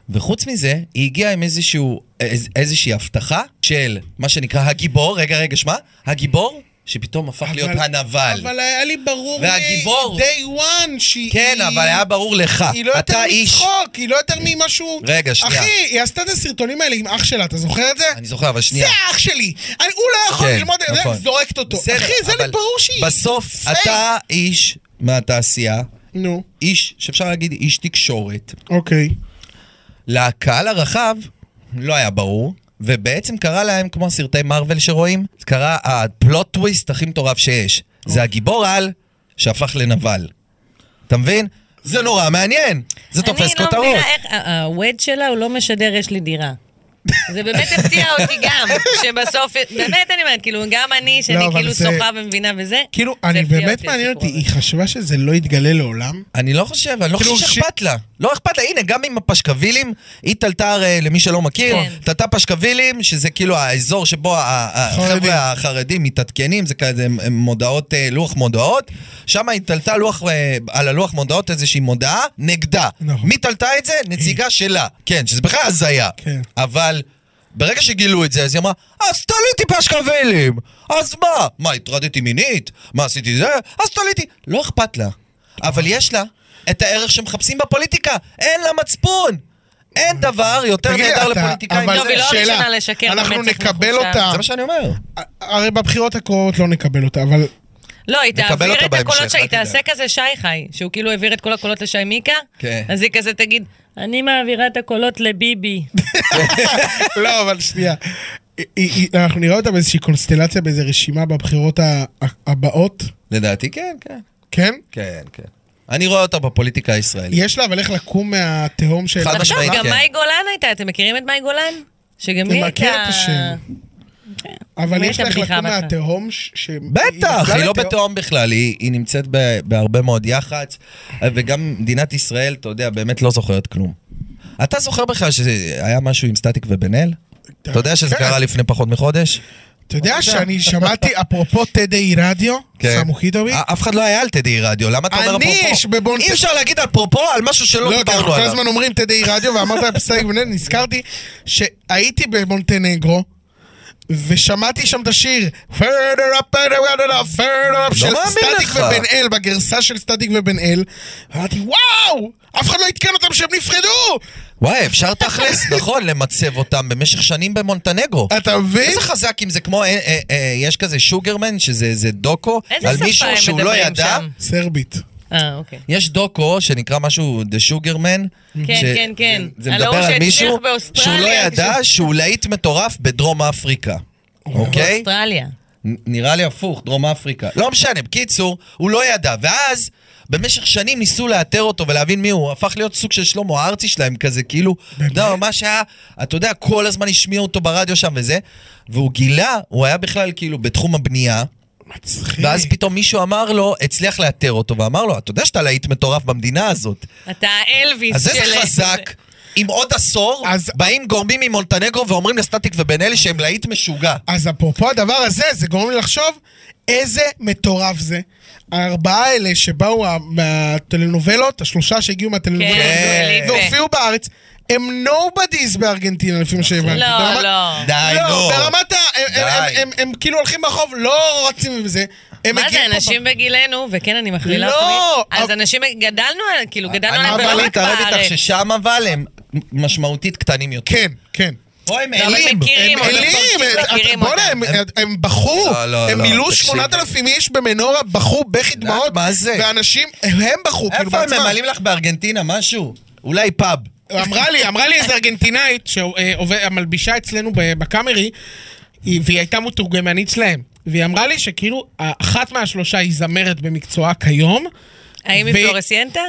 C: וחוץ מזה, היא הגיעה עם איזשהו, איז, איזושהי הבטחה של מה שנקרא הגיבור, רגע, רגע, שמע, הגיבור, שפתאום הפך להיות הנבל.
B: אבל היה לי ברור...
C: והגיבור.
B: מ-day one שהיא...
C: כן, אבל היה ברור לך.
B: היא לא יותר
C: אתה איש...
B: מצחוק, היא לא יותר ממשהו...
C: רגע, שנייה.
B: אחי, היא עשתה את הסרטונים האלה עם אח שלה, אתה זוכר את זה?
C: אני זוכר, אבל
B: זה
C: שנייה.
B: האח שלי! אני- הוא לא יכול
C: כן,
B: ללמוד את זה,
C: נכון.
B: זורקת אותו.
C: בסדר,
B: אחי, זה לי
C: אבל
B: ברור שהיא...
C: בסוף,
B: פייק.
C: אתה איש מהתעשייה,
B: נו,
C: איש, שאפשר להגיד איש תקשורת.
B: אוקיי.
C: לקהל הרחב לא היה ברור, ובעצם קרה להם כמו סרטי מארוול שרואים, קרה הפלוט טוויסט הכי מטורף שיש. זה הגיבור על שהפך לנבל. אתה מבין? זה נורא מעניין, זה תופס
G: אני לא
C: כותרות.
G: מבינה איך, ה- הווד שלה הוא לא משדר יש לי דירה. זה באמת הפתיע אותי גם, שבסוף, באמת אני אומרת, כאילו, גם אני,
B: לא,
G: שאני
B: אבל
G: כאילו
B: זה-
G: שוחה ומבינה וזה,
B: כאילו,
G: זה
B: אני
G: הפתיע
B: באמת
G: אותי,
B: מעניין אותי,
G: הסיפור
B: היא חשבה שזה לא יתגלה לעולם?
C: אני לא חושב, אני לא
B: כאילו,
C: חושב שאכפת לה. לא אכפת לה, הנה, גם עם הפשקווילים, היא תלתה הרי, למי שלא מכיר,
G: כן.
C: תלתה פשקווילים, שזה כאילו האזור שבו ה- ה-
B: חרדים.
C: החבר'ה החרדים מתעדכנים, זה כזה הם- הם מודעות, אה, לוח מודעות, שם היא תלתה לוח, אה, על הלוח מודעות איזושהי מודעה נגדה.
B: נכון.
C: מי תלתה את זה? נציגה שלה. כן, שזה בכלל הזיה.
B: כן.
C: אבל... ברגע שגילו את זה, אז היא אמרה, אז תליתי פשקווילים! אז מה? מה, הטרדתי מינית? מה עשיתי זה? אז תליתי! לא אכפת לה. אבל יש לה את הערך שמחפשים בפוליטיקה. אין לה מצפון! אין דבר יותר
B: תגיד לי,
C: נהדר
B: אתה-
C: לפוליטיקאים.
B: אבל
G: טוב, היא לא
B: שאלה,
G: הראשונה לשקר
B: אנחנו
G: במצח
B: נקבל
G: נחושה.
B: אותה.
C: זה מה שאני אומר.
B: הרי בבחירות הקרובות לא נקבל אותה, אבל
G: לא, היא
C: נקבל
G: תעביר
C: אותה
G: את הקולות
C: בהמשך,
G: שלה,
C: אל
G: היא
C: תדאג.
G: תעשה כזה שי חי, שהוא כאילו העביר את כל הקולות לשי מיקה,
C: כן.
G: אז היא כזה תגיד, אני מעבירה את הקולות לביבי.
B: לא, אבל שנייה. היא- היא- אנחנו נראה אותה באיזושהי קונסטלציה, באיזו רשימה בבחירות ה- הבאות,
C: לדעתי כן, כן.
B: כן?
C: כן, כן. אני רואה אותה בפוליטיקה הישראלית.
B: יש לה אבל איך לקום מהתהום של...
C: חד
G: תחשוב,
C: משמעית,
G: גם
C: כן.
G: מאי גולן הייתה, אתם מכירים את מאי גולן? שגם
B: אני
G: היא
B: מכיר את
G: הייתה...
B: השם. אבל
G: אומרת
B: יש לה איך
G: הבדיחה
B: לקום
G: בהתחלה.
B: מהתהום ש... ש-
C: בטח,
B: נפלה
C: היא לא
B: לתהום.
C: בתהום בכלל, היא היא נמצאת ב- בהרבה מאוד יח"צ, וגם מדינת ישראל, אתה יודע, באמת לא זוכרת כלום. אתה זוכר בכלל שהיה משהו עם סטטיק ובן אל? אתה יודע שזה
B: כן.
C: קרה לפני פחות מחודש?
B: אתה יודע שאני שמעתי, אפרופו תדי רדיו,
C: כן.
B: סמו חידובי,
C: א- אף אחד לא היה על תדי רדיו, למה אתה אומר
B: אני
C: אפרופו?
B: איש בבון-
C: אי אפשר להגיד אפרופו על משהו שלא
B: לא, כי אנחנו
C: דיברנו
B: כל
C: עליו.
B: הזמן אומרים תדי רדיו, ואמרת פסק בן אל, נזכרתי שהייתי במונטנגרו, ושמעתי שם את השיר further up, further up, further up, של
C: לא מאמין
B: סטטיק
C: לך.
B: ובן אל, בגרסה של סטטיק ובן אל, ואמרתי, וואו, אף אחד לא עדכן אותם שהם נפרדו!
C: וואי, אפשר תכלס, נכון, למצב אותם במשך שנים במונטנגו.
B: אתה מבין?
C: איזה חזק אם זה כמו, אה, אה, אה, יש כזה שוגרמן, שזה איזה דוקו,
G: איזה
C: על
G: שפה
C: מישהו
G: הם
C: שהוא לא
G: מדברים
C: ידע.
G: שם?
B: סרבית.
G: אה, אוקיי.
C: יש דוקו שנקרא משהו The Sugarman.
G: כן,
C: ש-
G: כן, כן.
C: זה
G: על
C: מדבר
G: ההוא
C: על
G: שהצליח
C: מישהו שהוא
G: באוסטרליה, כן.
C: לא ידע שהוא להיט מטורף בדרום אפריקה. אוקיי?
G: אוסטרליה.
C: נ- נראה לי הפוך, דרום אפריקה. לא משנה, בקיצור, הוא לא ידע. ואז, במשך שנים ניסו לאתר אותו ולהבין מי הוא. הוא הפך להיות סוג של שלמה ארצי שלהם כזה, כאילו, אתה יודע, ממש היה, אתה יודע, כל הזמן השמיעו אותו ברדיו שם וזה. והוא גילה, הוא היה בכלל כאילו בתחום הבנייה. ואז פתאום מישהו אמר לו, הצליח לאתר אותו, ואמר לו, אתה יודע שאתה להיט מטורף במדינה הזאת.
G: אתה האלוויס
C: אז
G: של...
C: איזה חזק. אם עוד עשור,
B: אז-
C: באים גורמים ממונטנגרו ואומרים לסטטיק ובן אלי שהם להיט משוגע.
B: אז אפרופו הדבר הזה, זה גורם לי לחשוב איזה מטורף זה. הארבעה האלה שבאו מה- מהטלנובלות, השלושה שהגיעו מהטלנובלות,
G: כן,
B: והופיעו והופיעו בארץ, הם נובדיז בארגנטינה, לפי מה שהבנתי.
G: לא,
B: ברמת-
G: לא.
C: די,
B: לא,
C: נו.
B: ברמת ה... הם- הם- הם-
C: די.
B: הם- הם כאילו הולכים ברחוב, לא רצים עם זה. הם
G: מה זה,
B: הגיעו פה-
G: אנשים בגילנו, וכן, אני מכלילה
B: לא,
G: אותך, אז
B: אבל- אה,
G: אנשים, גדלנו, על- כאילו, גדלנו עליהם
C: אבל
G: ולא
C: אני
G: רק
B: לא
C: מתערב איתך
G: בארץ.
C: ששם אבל הם משמעותית קטנים יותר.
B: כן, כן.
C: פה הם
G: אבל
C: אלים.
G: מכירים
B: הם
G: אותם,
B: אלים,
G: מכירים
B: בוא'נה,
G: אותם.
B: הם- הם בחרו,
C: לא, לא,
B: הם
C: לא,
B: מילאו
C: תקשיב.
B: 8,000 איש במנורה, בחרו בכי דמעות,
C: מה זה?
B: ואנשים, הם בחרו, כאילו
C: איפה הם
B: בעצמם.
C: ממלאים לך בארגנטינה משהו? אולי פאב.
B: אמרה לי, אמרה לי איזו ארגנטינאית שמלבישה אצלנו ב- בקאמרי, היא- והיא הייתה מתורגמנית שלהם. והיא אמרה לי שכאילו, אחת מהשלושה היא זמרת במקצועה כיום.
G: האם אה, היא
B: ו-
G: פלורסיינטה?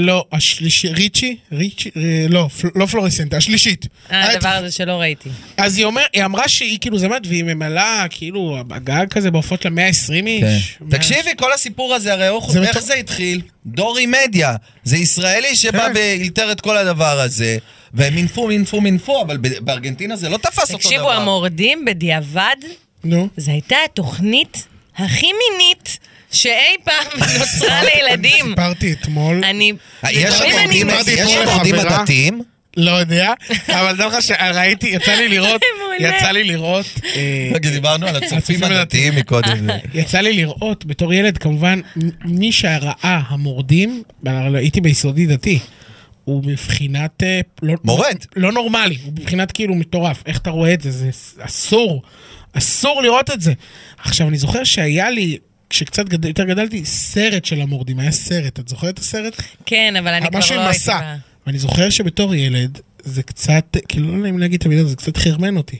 B: לא, השלישי, ריצ'י? ריצ'י? אה, לא, פל- לא פלורסנטה, השלישית.
G: אה,
B: את-
G: הדבר הזה שלא ראיתי.
B: אז היא אומר, היא אמרה שהיא כאילו זמרת והיא ממלאה, כאילו, הגג כזה בהופעות שלה 120 איש. מאה-
C: תקשיבי, כל הסיפור הזה, הרי איך
B: זה
C: איך
B: מטור-
C: זה התחיל? דורי מדיה. זה ישראלי שבא
B: כן.
C: ואילתר את כל הדבר
F: אה,
C: הזה, והם מינפו, מינפו, מינפו, אבל ב- בארגנטינה זה לא תפס אותו דבר.
G: תקשיבו, המורדים בדיעבד,
B: נו.
G: זו הייתה התוכנית הכי מינית שאי פעם נוצרה לילדים.
B: אה, סיפרתי אה, אתמול,
G: אני...
C: אה, יש
G: לפעמים אני
C: המורדים-
B: אמרתי
C: יש
B: אתמול
C: המורדים
B: לחברה-
C: הדתיים?
B: לא יודע, אבל דע לך שראיתי, יצא לי לראות,
G: מעולה.
B: יצא לי לראות, אה,
C: רגע, דיברנו על
B: הצופים
C: הצופים הדתיים מקודם. אה,
B: יצא לי לראות בתור ילד, כמובן, מ- מי שראה המורדים, אבל הייתי ביסודי דתי, הוא מבחינת... אה, לא,
C: מורד.
B: לא נורמלי, הוא מבחינת כאילו מטורף. איך אתה רואה את זה? זה ס- אסור. אסור לראות את זה. עכשיו, אני זוכר שהיה לי, כשקצת גד... יותר גדלתי, סרט של המורדים, היה סרט. את זוכרת את הסרט?
G: כן, אבל אני כבר
B: משהו
G: לא
B: עם
G: הייתי
B: מסע.
G: בה.
B: ואני זוכר שבתור ילד, זה קצת, כאילו לא נעים להגיד את המילה, הזאת, זה קצת חרמן אותי.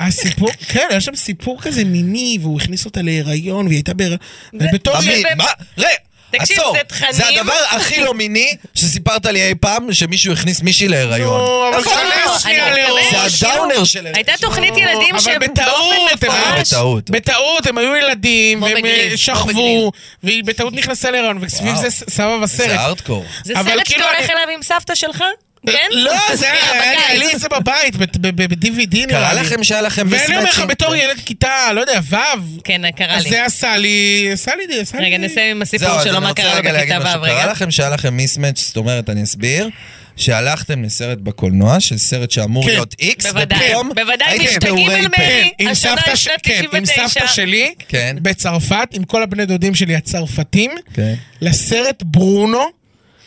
B: הסיפור, כן, היה שם סיפור כזה מיני, והוא הכניס אותה להיריון, והיא הייתה בהיריון. בתור
C: תמי,
B: ילד,
G: זה-
F: אה,
C: מה? רגע,
G: תקשיב,
C: עצור.
G: זה תכנים.
C: זה הדבר הכי לא מיני שסיפרת לי אי פעם, שמישהו הכניס מישהו להיריון.
B: אבל
G: לא,
B: תיכנס שנייה
G: אני
B: לאור.
G: מתכוונת-
C: זה הדאונר של...
G: הייתה תוכנית ילדים
B: אבל בטעות,
G: שבאופן
B: הם היו-
G: מפורש...
C: בטעות.
B: בטעות, הם היו ילדים,
G: כמו
B: והם
G: בגריז,
B: אה,
G: כמו
B: שכבו, והיא בטעות נכנסה להיריון, וסביב
C: וואו.
B: זה ס- סבבה
C: זה
B: בסרט.
C: הארדקור.
G: זה
B: אבל
G: סרט שאתה
B: כאילו אני-
G: הולך אליו עם סבתא שלך?
C: אה,
G: כן?
B: לא, זה היה היה לי- היה לי את זה בבית, ב-DVD נראה לי.
C: קרה לכם שהיה לכם
B: ואני אומר לך,
C: mismatching?
B: בתור ילד כיתה, לא יודע, ו',
G: כן, קרה
B: אז
G: לי.
B: זה עשה לי, עשה לי, עשה לי.
G: רגע, נסיים עם
C: זהו,
G: הסיפור
C: אז
G: שלו,
C: אני
G: מה
C: רוצה
G: קרה לו
C: רגע להגיד
G: בכיתה
C: משהו.
G: ו',
C: קרה
G: רגע.
C: לכם שהיה לכם מיסמץ', זאת אומרת, אני אסביר. שהלכתם לסרט בקולנוע של סרט שאמור
B: כן.
C: להיות איקס,
G: בוודאי,
C: ופתאום
G: בוודאי,
C: הייתם
G: משתגעים
C: פעורי
G: על
C: פה.
G: מני.
B: עם
G: השנה
B: סבתא
G: היא
B: ש-
G: שנת
B: כן, עם
G: 99.
B: סבתא שלי,
C: כן.
B: בצרפת, עם כל הבני דודים שלי הצרפתים,
C: כן.
B: לסרט ברונו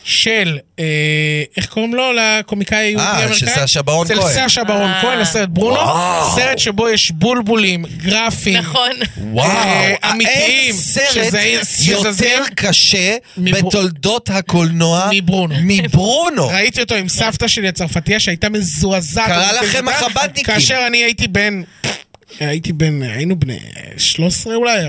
B: של, אה, איך קוראים לו? לקומיקאי היהודי
C: אה, של
B: האמריקאי?
C: סשה ברון כהן.
B: של סשה ברון
G: אה.
B: כהן, לסרט ברונו.
C: וואו.
B: סרט שבו יש בולבולים, גרפים.
G: נכון.
C: וואו,
B: אה, אמיתיים,
C: אין סרט
B: שזה-
C: יותר
B: שזזים.
C: קשה
B: מבר-
C: בתולדות הקולנוע
B: מברונו.
C: מברונו.
B: ראיתי אותו עם סבתא שלי הצרפתיה שהייתה מזועזעת.
C: קרה
B: אני
C: לכם
B: מזועזעת.
C: החב"דניקים.
B: כאשר אני הייתי בן... הייתי בן, היינו בני 13 אולי,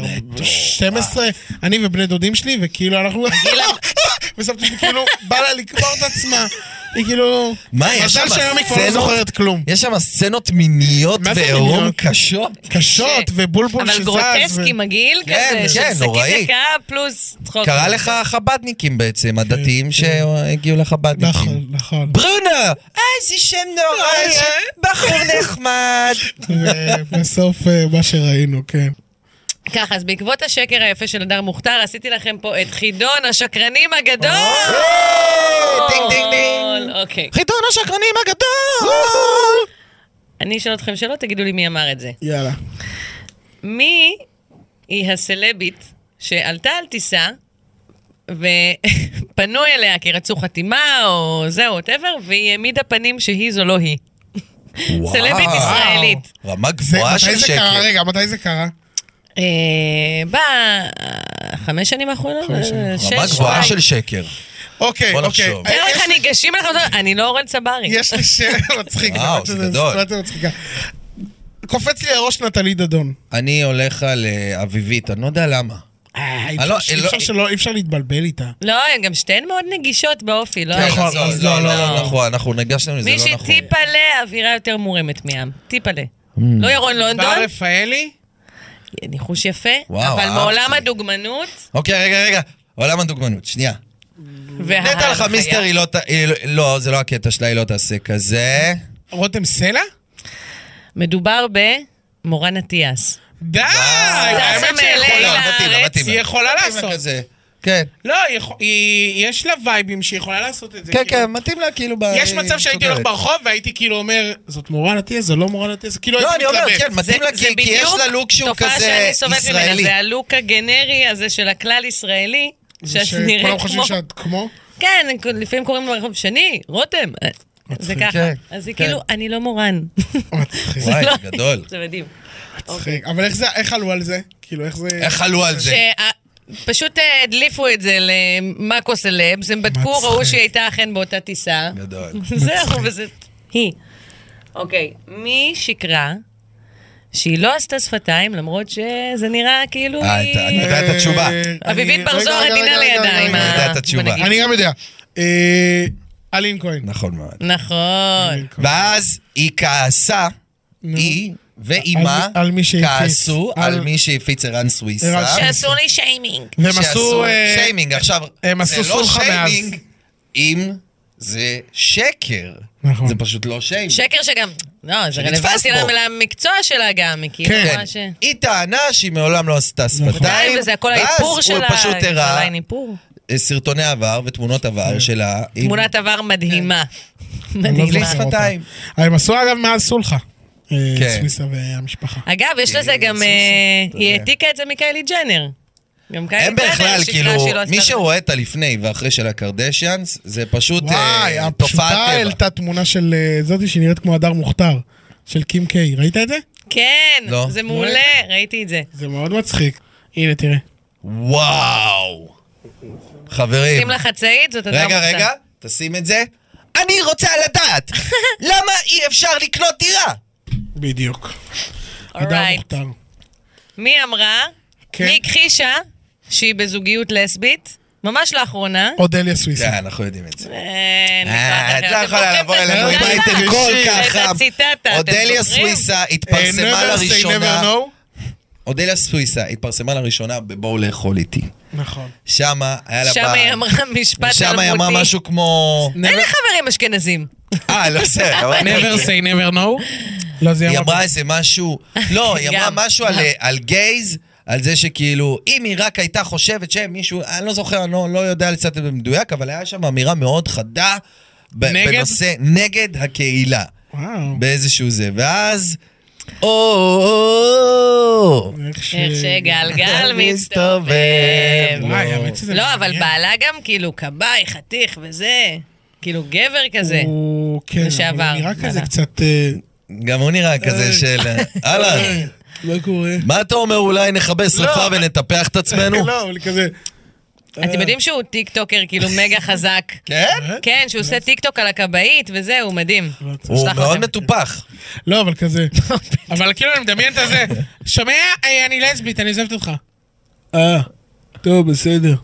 B: 12, אני ובני דודים שלי, וכאילו אנחנו... וסבתא שלי כאילו בא לה לקבור את עצמה. היא כאילו...
C: מה, יש שם
B: מזל שהיום היא כבר לא
C: סצנות?
B: זוכרת כלום.
C: יש שם סצנות מיניות
B: מה זה
C: ועירום
B: מיניות?
C: קשות.
B: קשות ובולבול שזז.
G: אבל גרוטסקי,
B: ו-
G: מגעיל
C: כן,
G: כזה,
C: כן,
G: של
C: נוראי.
G: שקית דקה פלוס צחוק.
B: אוקיי.
C: קרה לך החב"דניקים בעצם, הדתיים שהגיעו
B: כן, נכון, אה,
C: לחב"דניקים.
B: נכון.
C: ברונו! אה, זה שם נורא, ש- בחור נחמד.
B: ובסוף אה, מה שראינו, כן.
G: ככה, אז בעקבות השקר היפה של הדר מוכתר, עשיתי לכם פה את חידון השקרנים הגדול!
C: אה,
B: אה!
C: דינג דינג דינג.
G: אוקיי.
C: חידון השקרנים הגדול!
G: אני אשאל אתכם שאלות, תגידו לי מי אמר את זה.
B: יאללה.
G: מי היא הסלבית שעלתה על טיסה ופנו אליה כי רצו חתימה או זהו, ווטאבר, והיא העמידה פנים שהיא זו לא היא.
C: וואו.
G: סלבית ישראלית.
C: רמה
B: זה-
C: גבוהה
B: מתי
C: של
B: זה
C: שקר.
B: קרה? רגע, מתי זה קרה?
G: אה, בחמש שנים האחרונות? אה,
C: רמה
G: שש,
C: גבוהה
G: אולי.
C: של שקר.
B: אוקיי,
C: בוא
B: אוקיי.
C: נחשוב.
G: תאר
B: יש-
G: לך ניגשים אליך, ואומרים, אני לא אורן צברי.
B: יש לי שם מצחיק,
C: וואו,
B: למרות
C: זה
B: שזה
C: גדול.
B: סיטואציה מצחיקה. קופץ לי הראש נטלי דדון.
C: אני הולך על אה, אביבית, אני לא יודע למה.
B: אה, אי
C: אה, לא,
B: אפשר-
C: אה,
B: אי
C: לא-
B: אפשר שלא, אי אפשר להתבלבל איתה.
G: לא, הן גם שתיהן מאוד נגישות באופי, לא?
C: רגע,
B: נכון,
C: זו-
B: אז
C: לא,
B: לא,
C: לא,
B: לא.
C: לא נכון, אנחנו ניגשנו לזה, לא
G: מישהי
C: נכון.
G: טיפלה, אווירה יותר מורמת מעם. טיפלה.
C: Mm.
G: לא ירון לונדון,
B: בר רפאלי?
G: ניחוש יפה,
C: וואו,
G: אבל
C: אהבתי.
G: מעולם הדוגמנות.
C: אוקיי, רגע, רגע. עולם הדוגמנות, שנייה.
B: אה,
C: נטע לך מיסטר, היא לא ת- היא לא- לא, זה לא הקטע שלה, היא לא תעשה כזה.
B: רותם סלע?
G: מדובר במורן אטיאס.
B: די!
C: אה,
G: טסה
B: האמת שהיא
G: מ-LA
B: יכולה.
G: לארץ.
C: מתאים לה, מתאים לה.
B: היא יכולה
C: מתאים לה
B: לעשות.
C: כזה. כן,
B: לא, היא יכול- היא- יש לה וייבים שהיא יכולה לעשות את זה.
C: כן,
B: כאילו.
C: כן, מתאים לה כאילו ב...
B: יש מצב שהייתי הולך
C: מסודרת.
B: ברחוב והייתי כאילו אומר, זאת מורן אטיאס, זו לא מורן אטיאס, כאילו
C: לא,
B: הייתי
C: אני אומר, כן, מתאים לה
G: זה
C: כי כי יש
G: בדיוק
C: לה לוק שהוא
G: תופעה
C: כזה
G: שאני סובלת ממנה,
C: ישראלי.
G: זה הלוק הגנרי הזה של הכלל ישראלי, שאת
B: שכולם
G: נראית
B: חושבים
G: כמו...
B: שאת כמו?
G: כן, לפעמים קוראים לו ברחוב שני, רותם. אה, זה ככה.
C: כן,
G: אז היא
C: כן.
G: כאילו, אני לא מורן.
B: מצחיק,
C: וואי,
G: לא-
C: זה גדול.
G: זה מדהים.
B: מצחיק. אבל איך זה, איך עלו על זה? כאילו, איך זה...
C: איך עלו על זה?
G: אה, פשוט אה, הדליפו את זה למאקו סלבס, הם בדקו,
B: מצחיק.
G: ראו שהיא הייתה אכן באותה טיסה.
C: גדול.
G: זהו, וזה... היא. אוקיי, מי שיקרה שהיא לא עשתה שפתיים, למרות שזה נראה כאילו
C: אה,
G: היא...
C: אתה- אני יודע את התשובה.
B: אה,
G: אביבית
B: אני-
G: בר
B: רגע,
G: זוהר
B: רגע,
G: עדינה
B: רגע,
G: לידה
B: רגע,
G: עם
B: רגע.
G: ה...
C: אני יודע את התשובה.
G: בוא נגיד.
B: אני גם יודע. אה, אלין כהן.
C: נכון מאוד.
G: נכון.
C: ואז היא כעסה, היא ואימה
B: על- על מי שהפיץ.
C: כעסו
B: על-
C: על מי שהפיץ ערן סוויסה.
B: ערן סוויסה.
G: שעשו לי שיימינג.
B: והם עשו...
C: שעשו
B: אה,
C: שיימינג. עכשיו,
B: הם
C: זה
B: עשו
C: לא
B: סולחה מאז.
C: שיימינג אם זה שקר.
B: נכון.
C: זה פשוט לא שיימינג.
G: שקר שגם... לא, זה
C: שנתפס
G: רלוונטי
C: בו.
G: לה- למקצוע שלה גם, היא כאילו
B: כן.
G: מה ש... נכון.
C: היא טענה שהיא מעולם לא עשתה שפתיים,
G: וזה הכל האיפור
C: ואז
G: שלה.
C: הוא פשוט
G: זה
C: הראה
G: עדיין איפור.
C: סרטוני עבר ותמונות
B: כן.
C: עבר שלה. עם-
G: תמונת
C: כן.
G: עבר מדהימה.
B: אני לא
G: מדהימה.
B: זוכר אותה.
C: שפתיים.
B: אה, הם עשו אגב מאז סולחה. אה,
C: כן.
B: סוויסה והמשפחה.
G: אגב, יש לזה גם... אה, היא העתיקה את זה מקיילי ג'נר. גם קיילי
C: הם
G: ג'נר
C: בכלל,
G: שיקרה
C: כאילו,
G: שהיא לא עשתה
C: מי
G: את זה.
C: שרואה את הלפני ואחרי של הקרדשיאנס, זה פשוט
B: וואי,
C: אה, תופעת
B: הפשוטה
C: טבע.
B: העלתה תמונה של אה, זאתי שנראית כמו הדר מוכתר. של קים קיי. ראית את זה?
G: כן,
C: לא.
G: זה מעולה, ראיתי את זה.
B: זה מאוד מצחיק. הנה, תראה.
C: וואו.
G: שים
C: חברים,
G: לה חצאית, זאת אדם
C: כן. רגע, רגע, תשים את זה. אני רוצה לדעת, למה אי אפשר לקנות דירה?
B: בדיוק. הדר
G: אורייט.
B: מוכתר.
G: מי אמרה?
B: כן.
G: מי הכחישה שהיא בזוגיות לסבית? ממש לאחרונה.
B: אודליה סוויסה.
C: כן, אנחנו יודעים את זה.
G: אה,
C: אה,
G: נפלא,
C: את
G: אתם
C: לא יכולה
G: זוכרים
C: לבוא
G: את
C: אלינו עם
G: הציטטה?
C: הייטק כל כך
G: את
C: חם.
G: הציטטה, אתם
C: אודליה
G: זוכרים?
C: סוויסה
B: אה,
C: התפרסמה
B: never say never
C: לראשונה,
B: know.
C: אודליה סוויסה התפרסמה לראשונה בבואו לאכול איתי.
B: נכון.
C: שמה היה לה
G: שם
C: בר.
G: היא אמרה משפט
C: שם היא אמרה
G: תלמודי.
C: משהו כמו...
G: אין לי חברים אשכנזים.
C: אה, לא בסדר. אבל-
B: never say never know. לא, זה
C: היא אמרה איזה משהו, לא, היא אמרה
G: גם,
C: משהו על,
G: גם.
C: על גייז, על זה שכאילו, אם היא רק הייתה חושבת שמישהו, אני לא זוכר, אני לא, לא יודע לצטט במדויק, אבל היה שם אמירה מאוד חדה ב-
B: נגד?
C: בנושא, נגד הקהילה,
B: וואו.
C: באיזשהו זה, ואז, "או, או, או,
B: איך ש-
G: איך שגלגל מסתובב.
C: מסתובב.
B: וואי, האמת שזה
G: לא, אבל
B: מעניין.
G: בעלה גם כאילו כבאי, חתיך וזה. כאילו גבר כזה.
B: הוא כן, אבל
G: לשעבר.
B: הוא נראה כזה
G: וואלה.
B: קצת... אה,
C: גם הוא נראה כזה של, אהלן,
B: מה לא קורה?
G: אה.
C: מה אתה אומר, אולי נכבה שרפה ונטפח את עצמנו?
B: לא, הוא כזה...
G: אתם יודעים שהוא טיקטוקר כאילו מגה חזק.
C: אה. כן? לא,
G: כן, שהוא עושה טיקטוק על הכבאית וזה, הוא מדהים.
C: הוא
G: שלח
C: מאוד
G: לכם.
C: מטופח.
B: לא, אבל כזה. אבל כאילו אני מדמיין את הזה. שומע? אה, אני לסבית, אני עוזבת אותך. אה, טוב, בסדר.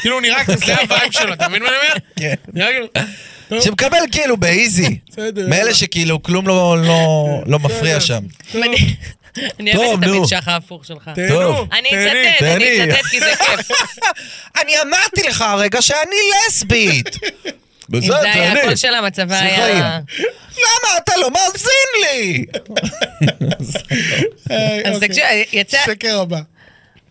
B: כאילו הוא נראה
G: כן.
B: כזה, זה הווייב שלו, אתה מבין מה אני אומר?
C: כן.
B: נראה כאילו... טוב,
C: שמקבל כאילו באיזי.
B: בסדר.
C: מאלה שכאילו כלום לא- לא- לא מפריע שם.
B: טוב,
G: אני אוהבת
C: טוב,
G: את
C: נו.
G: המנשח ההפוך שלך.
B: תהנו.
G: אני
B: תהני.
G: אצטט, אני
C: תהני.
G: אצטט כי זה כיף.
C: אני אמרתי לך הרגע שאני לסבית.
G: אם זה היה הקול של המצבה היה...
C: סליחה, למה אתה לא מאזין לי?
B: אה,
G: אז
B: אוקיי.
G: תקשיב, יצא...
B: שקר הבא.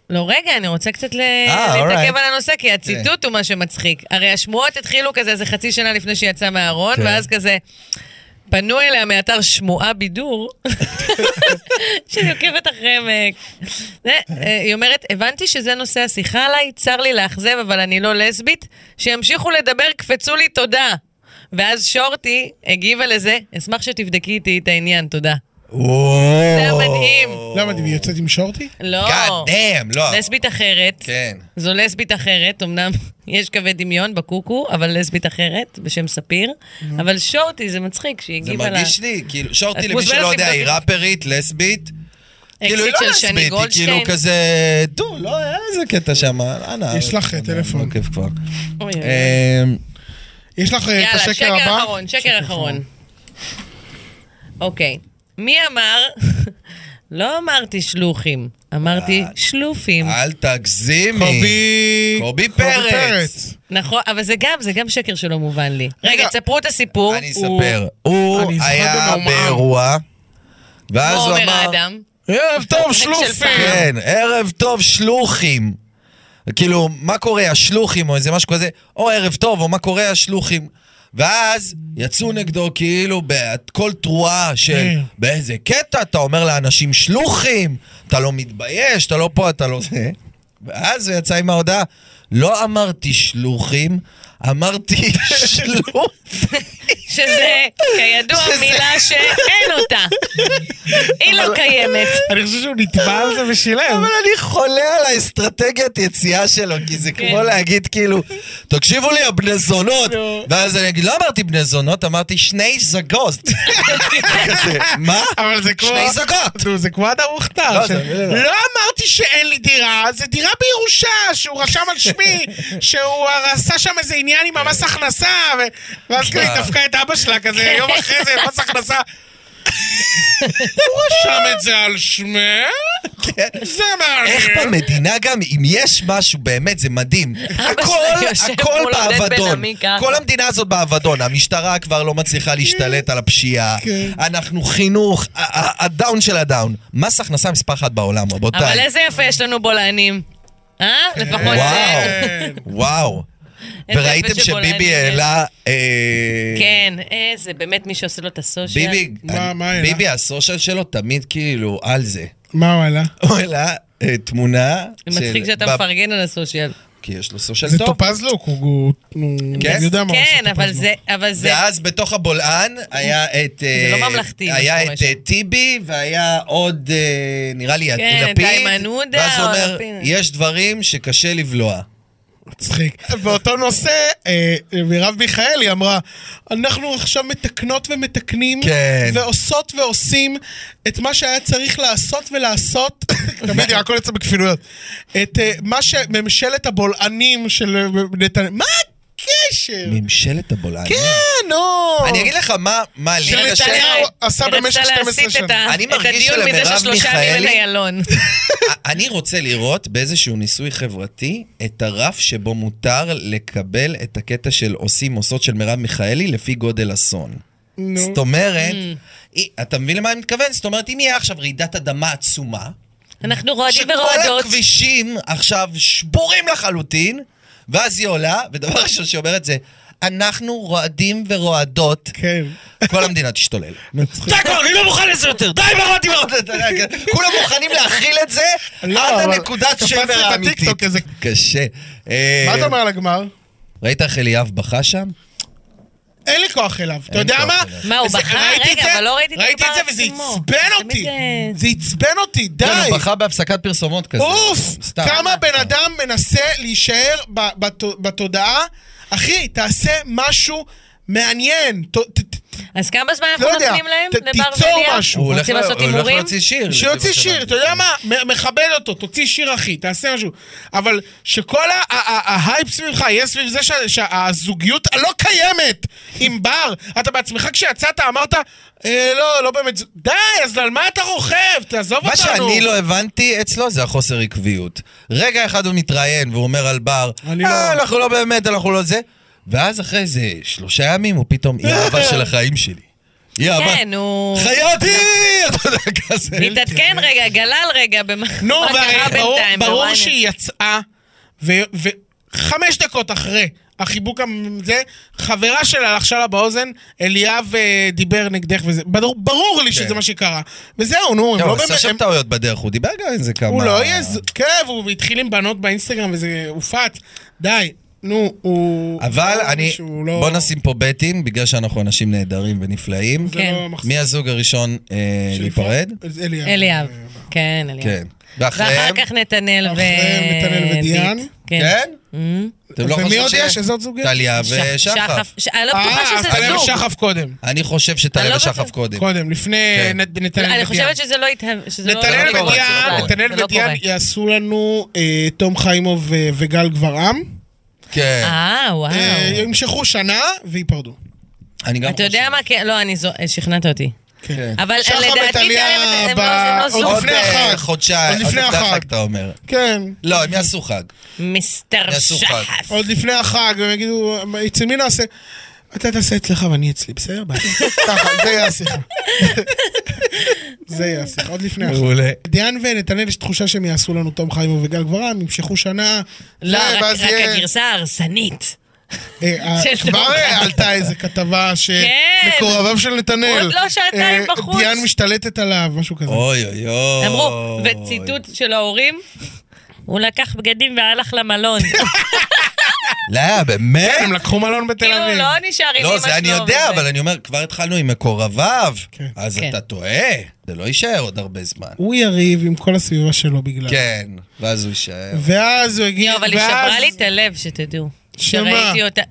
G: לא, רגע, אני רוצה קצת ל-
C: אה,
G: להתעכב
C: alright. כן.
G: על הנושא, כי הציטוט הוא מה שמצחיק. הרי השמועות התחילו כזה איזה חצי שנה לפני שיצא מהארון,
C: כן.
G: ואז כזה... פנו אליה מאתר שמועה בידור, שאני עוקבת אחריהם. אה, זה, אה, היא אומרת, הבנתי שזה נושא השיחה עליי, צר לי לאכזב, אבל אני לא לסבית. שימשיכו לדבר, קפצו לי תודה. ואז שורטי הגיבה לזה, אשמח שתבדקי איתי את העניין, תודה. זה היה מדהים.
B: למה, היא יוצאת עם שורטי?
G: לא.
C: God damn, לא.
G: לסבית אחרת.
C: כן.
G: זו לסבית אחרת, אמנם יש קווי דמיון בקוקו, אבל לסבית אחרת, בשם ספיר. אבל שורטי, זה מצחיק שהיא
C: זה
G: הגיבה לה...
C: מרגיש לי, כאילו, שורטי
G: את
C: למי שלא
G: מוזמנת
C: יודע, היא
G: לבדוק.
C: ראפרית, לסבית. כאילו, היא
G: אקזיט
C: לא
G: של שני
C: לסבית, היא
G: גולדשטיין.
C: כאילו כזה... דו, לא, היה איזה קטע שם. אנא.
B: יש לך אה,
G: אה,
B: טלפון.
C: לא כיף כבר.
G: אוי, אוי, אוי.
C: אמ,
B: יש לך אה, את
G: יאללה,
B: השקר
G: שקר
B: הבא?
G: אחרון, שקר אחרון. אוקיי, מי אמר? לא אמרתי שלוחים,
C: אה,
G: אמרתי שלופים.
C: אל תגזימי.
B: קובי...
C: קובי פרץ.
G: נכון, אבל זה גם, זה גם שקר שלא מובן לי. רגע, תספרו את הסיפור.
C: אני אספר. הוא
B: אני זוכר
C: היה
B: במעומעם.
C: באירוע, ואז
G: כמו
C: הוא
G: עומר
C: אמר...
G: האדם.
F: אה,
B: ערב טוב, שלופי!
C: כן, ערב טוב שלוחים. כאילו, מה קורה, השלוחים או איזה משהו כזה, או ערב טוב, או מה קורה, השלוחים. ואז יצאו נגדו כאילו בכל תרועה של
B: כן.
C: באיזה קטע אתה אומר לאנשים שלוחים, אתה לא מתבייש, אתה לא פה, אתה לא זה. ואז הוא יצא עם ההודעה, לא אמרתי שלוחים, אמרתי שלוף,
G: שזה כידוע מילה שאין אותה. היא לא קיימת.
B: אני חושב שהוא נתבע על זה ושילם.
C: אבל אני חולה על האסטרטגיית יציאה שלו, כי זה
G: כן.
C: כמו להגיד כאילו, תקשיבו לי, הבני זונות. ואז אני אגיד, לא אמרתי בני זונות, אמרתי שני זגות. כזה, מה?
B: אבל זה כמו...
C: שני זוגות.
B: נו, זה כמו אדם מוכתר.
C: לא,
B: ש-
C: זה-
B: לא אמרתי שאין לי דירה, זה דירה בירושה, שהוא רשם על שמי, שהוא עשה שם איזה עניין עם המס הכנסה, ו- ואז כאילו היא דפקה את אבא שלה כזה, יום אחרי זה, מס הכנסה. הוא רשם את זה על שמי? זה
C: איך
G: כן.
B: מעניין.
C: במדינה גם, אם יש משהו, באמת, זה מדהים. הכל,
G: שלי יושב
C: הכל
G: מול עודד
C: באבדון.
G: בן-עמי ככה.
C: כל המדינה הזאת באבדון. המשטרה כבר לא מצליחה להשתלט על הפשיעה.
G: כן.
C: אנחנו חינוך, ה- ה- הדאון של הדאון. מס הכנסה מספר אחת בעולם, רבותיי.
G: אבל איזה יפה יש לנו בולענים. אה? לפחות
C: וואו,
G: זה.
C: וואו.
G: איזה
C: וראיתם
G: יפה שבולענים
C: שביבי
G: יש.
C: העלה... אה,
G: כן, איזה, באמת מי שעושה לו את הסושיאל.
C: ביבי,
B: מה- מה העלה?
C: ביבי הסושיאל שלו תמיד כאילו על זה.
B: מה הוא עלה?
C: הוא העלה אה, תמונה
G: זה מצחיק
C: של-
G: שאתה
C: ב-
G: מפרגן על הסושיאל.
C: כי יש לו סושיאל
B: זה
C: טוב.
B: טופז לוק, הוא- הוא... הוא-
C: כן?
B: אני יודע מה הוא עושה
G: כן, אבל
B: טופז לוק.
G: זה, אבל זה,
C: ואז בתוך הבולען היה את...
G: זה לא
C: אה,
G: ממלכתי, מה
C: היה
G: שקורה
C: את
G: שם.
C: אה, טיבי והיה עוד, אה, נראה לי,
G: כן,
C: לפיד.
G: איימן עודה
C: ואז הוא
G: או
C: אומר,
G: לפיד.
C: יש דברים שקשה לבלוע.
B: מצחיק. באותו נושא, אה, מרב מיכאלי אמרה, אנחנו עכשיו מתקנות ומתקנים,
C: כן.
B: ועושות ועושים את מה שהיה צריך לעשות ולעשות, תמיד הכל יוצא בכפילויות, את אה, מה שממשלת הבולענים של אה, נתניהו, מה הקשר?
C: ממשלת הבולען.
B: כן, נו.
C: אה, אני אגיד לך מה, מה לי
B: של
C: קשה.
B: נתניהו עשה
G: היא
B: במשך
G: רצתה
B: 12
G: להסיט את
B: שנה.
G: ה-
C: אני
G: את
C: מרגיש
G: הדיון מזה
C: שלמרב
G: של שלושה
C: מיכאלי-
G: ימים לאיילון.
C: אני רוצה לראות באיזשהו ניסוי חברתי את הרף שבו מותר לקבל את הקטע של עושים עושות של מרב מיכאלי לפי גודל אסון. זאת אומרת, היא- אתה מבין למה אני מתכוון? זאת אומרת, אם יהיה עכשיו רעידת אדמה עצומה,
G: אנחנו רועדים
C: שכל
G: ורועדות.
C: הכבישים עכשיו שבורים לחלוטין, ואז היא עולה, ודבר ראשון שהיא אומרת זה, אנחנו רועדים ורועדות,
B: כן.
C: כל המדינה תשתולל.
B: מצחיק.
C: די כבר, אני לא מוכן לזה יותר, די ברעדים ורועדות, כן. כולם מוכנים להכיל את זה
B: לא,
C: עד
B: אבל
C: הנקודת
B: תפסתי
C: שבר האמיתית.
B: בטיקטוק איזה-
C: קשה. אה,
B: מה אתה אומר על הגמר?
C: ראית איך אליאב בכה שם?
B: אין לי כוח אליו, אתה יודע
C: כוח
B: מה?
C: אליו.
G: מה, הוא
B: וזה-
G: בכה?
B: ראיתי
G: רגע,
B: את זה-
G: אבל לא ראיתי את
B: ראיתי את
G: הדבר
B: זה וזה
G: עצמו.
B: עצבן
G: תמיד,
B: אותי,
G: אה,
B: זה עצבן אותי, די.
C: כן, הוא בכה בהפסקת פרסומות כזה.
B: אוף!
C: סתם.
B: כמה בן אדם מנסה להישאר ב- בת- בתודעה? אחי, תעשה משהו מעניין. ת- ת- ת-
G: אז כמה זמן אנחנו
B: לא יודע,
G: נותנים להם
B: ת-
G: לבר
B: תיצור
G: וליה?
B: משהו.
C: הוא הולך
G: רוצים
C: ל-
G: לעשות
C: הוא הולך
G: הימורים?
C: להוציא שיר.
B: שיוציא שיר, אתה יודע מה? מ- מכבד אותו, תוציא שיר אחי, תעשה משהו. אבל שכל ה- ה- ה- ההייפ סביבך יהיה סביב זה שה- שהזוגיות הלא קיימת עם בר. אתה בעצמך כשיצאת אמרת, "אה, לא, לא באמת, זו-" די, אז על מה אתה רוכב? תעזוב אותנו.
C: מה שאני לא הבנתי אצלו זה החוסר עקביות. רגע אחד הוא מתראיין והוא אומר על בר,
B: אני
C: "אה,
B: לא-
C: אנחנו לא באמת, אנחנו לא זה. ואז אחרי איזה שלושה ימים הוא פתאום, היא אהבה של החיים שלי. היא אהבה.
G: כן, הוא...
C: חייתי! אתה יודע, כזה.
G: התעדכן רגע, גלל רגע במה
B: נו,
G: מה קרה
B: והרי ברור,
G: בינתיים.
B: ברור
G: בוויינט.
B: שהיא יצאה, וחמש דקות אחרי החיבוק הזה, חברה שלה לחשה לה באוזן, אליאב אה, דיבר נגדך וזה, ברור, ברור לי שזה מה שקרה. וזהו, נו, הם
C: כן.
B: לא
C: לא, הוא עשה
B: באמת...
C: שם
B: הם-
C: טעויות בדרך, הוא דיבר גם על זה כמה...
B: הוא לא יהיה... ז- כן, והוא התחיל עם בנות באינסטגרם וזה הופץ. די, נו, הוא...
C: אבל
B: הוא
C: אני...
B: שהוא לא-
C: בוא נשים פה בטים, בגלל שאנחנו אנשים נהדרים ונפלאים.
B: זה לא
G: כן.
B: מחזיק.
C: מי הזוג הראשון אה,
B: שלפני-
C: להיפרד?
B: אז אליאב.
G: אליאב. כן, אליאב.
C: כן.
G: ואחר
C: ואחריהם?
G: כך נתנאל ו...
B: אחריהם נתנאל ודיאן.
G: דית.
C: כן? אתם לא
B: ומי
C: חושבים
B: עוד
C: ש-
B: יש? איזה עוד זוג יש?
C: טליה
G: ש-
C: ושחף.
G: Mm-hmm. שחף. ש- אני לא בטוחה
B: כן, אה,
G: שזה
B: טליה
G: זוג.
B: ושחף קודם.
C: אני חושב
G: אני
C: שטליה
G: לא
C: ושחף
G: בטוח.
C: קודם.
B: קודם, לפני
C: כן.
B: נ- נתנאל ודיאן.
G: אני חושבת שזה לא יתהם... שזה לא-
B: נתנאל
G: לא קורה, זה לא
B: ודיאן,
G: קורה. זה
B: נתנאל
G: לא
B: ודיאן
G: קורה.
B: יעשו לנו אה, תום חיימוב אה, וגל גברעם.
C: כן.
G: אה, וואו.
B: אה, ימשכו שנה וייפרדו.
C: אני גם
G: אתה יודע מה? כן, לא, אני זו... שכנעת אותי.
C: כן.
G: אבל
B: שחר
G: לדעתי
B: וטליה
G: זה- הם לא-
B: ב-
G: זה לא
B: עוד
G: זוג.
B: לפני
C: אה,
B: החג.
C: חודשיים.
B: עוד לפני החג.
C: אתה אומר.
B: כן.
C: לא, הם יעשו חג.
G: מיסטר
C: יעשו חג.
G: שחף.
B: עוד לפני החג, והם יגידו, "מה, אצל מי נעשה? אתה תעשה אצלך ואני אצלי, בסדר? ביי." ככה, זה יהיה השיחה. זה יהיה השיחה, עוד לפני החג.
C: מעולה.
B: דיאן ונתנאל, יש תחושה שהם יעשו לנו תום חיימוב וגל גברעם, ימשכו שנה.
G: לא,
B: זה,
G: רק
B: אוקיי, ואז
G: רק
B: יהיה-
G: הגרסה ההרסנית.
B: אה, כבר
G: של שלמה.
B: אה, עלתה איזה כתבה
G: כן.
B: שמקורביו של נתנאל.
G: עוד לא שעתיים
B: אה,
G: בחוץ.
B: דיאן משתלטת עליו, משהו כזה.
C: אוי אוי אוי.
G: אמרו, וציטוט של ההורים, הוא לקח בגדים והלך למלון.
C: לא, באמת?
B: הם לקחו מלון בתל
G: כאילו,
B: אביב.
G: לא נשאר עם אמא שלו.
C: לא, זה אני יודע,
G: וזה.
C: אבל אני אומר, כבר התחלנו עם מקורביו,
B: כן.
C: אז
G: כן.
C: אתה טועה, זה לא יישאר עוד הרבה זמן.
B: הוא יריב עם כל הסביבה שלו בגלל.
C: כן, ואז הוא יישאר.
B: ואז הוא הגיע,
G: יואו, לא, אבל היא
B: ואז-
G: שברה לי את הלב, שתדעו.
B: שמה?
G: שראיתי אותה...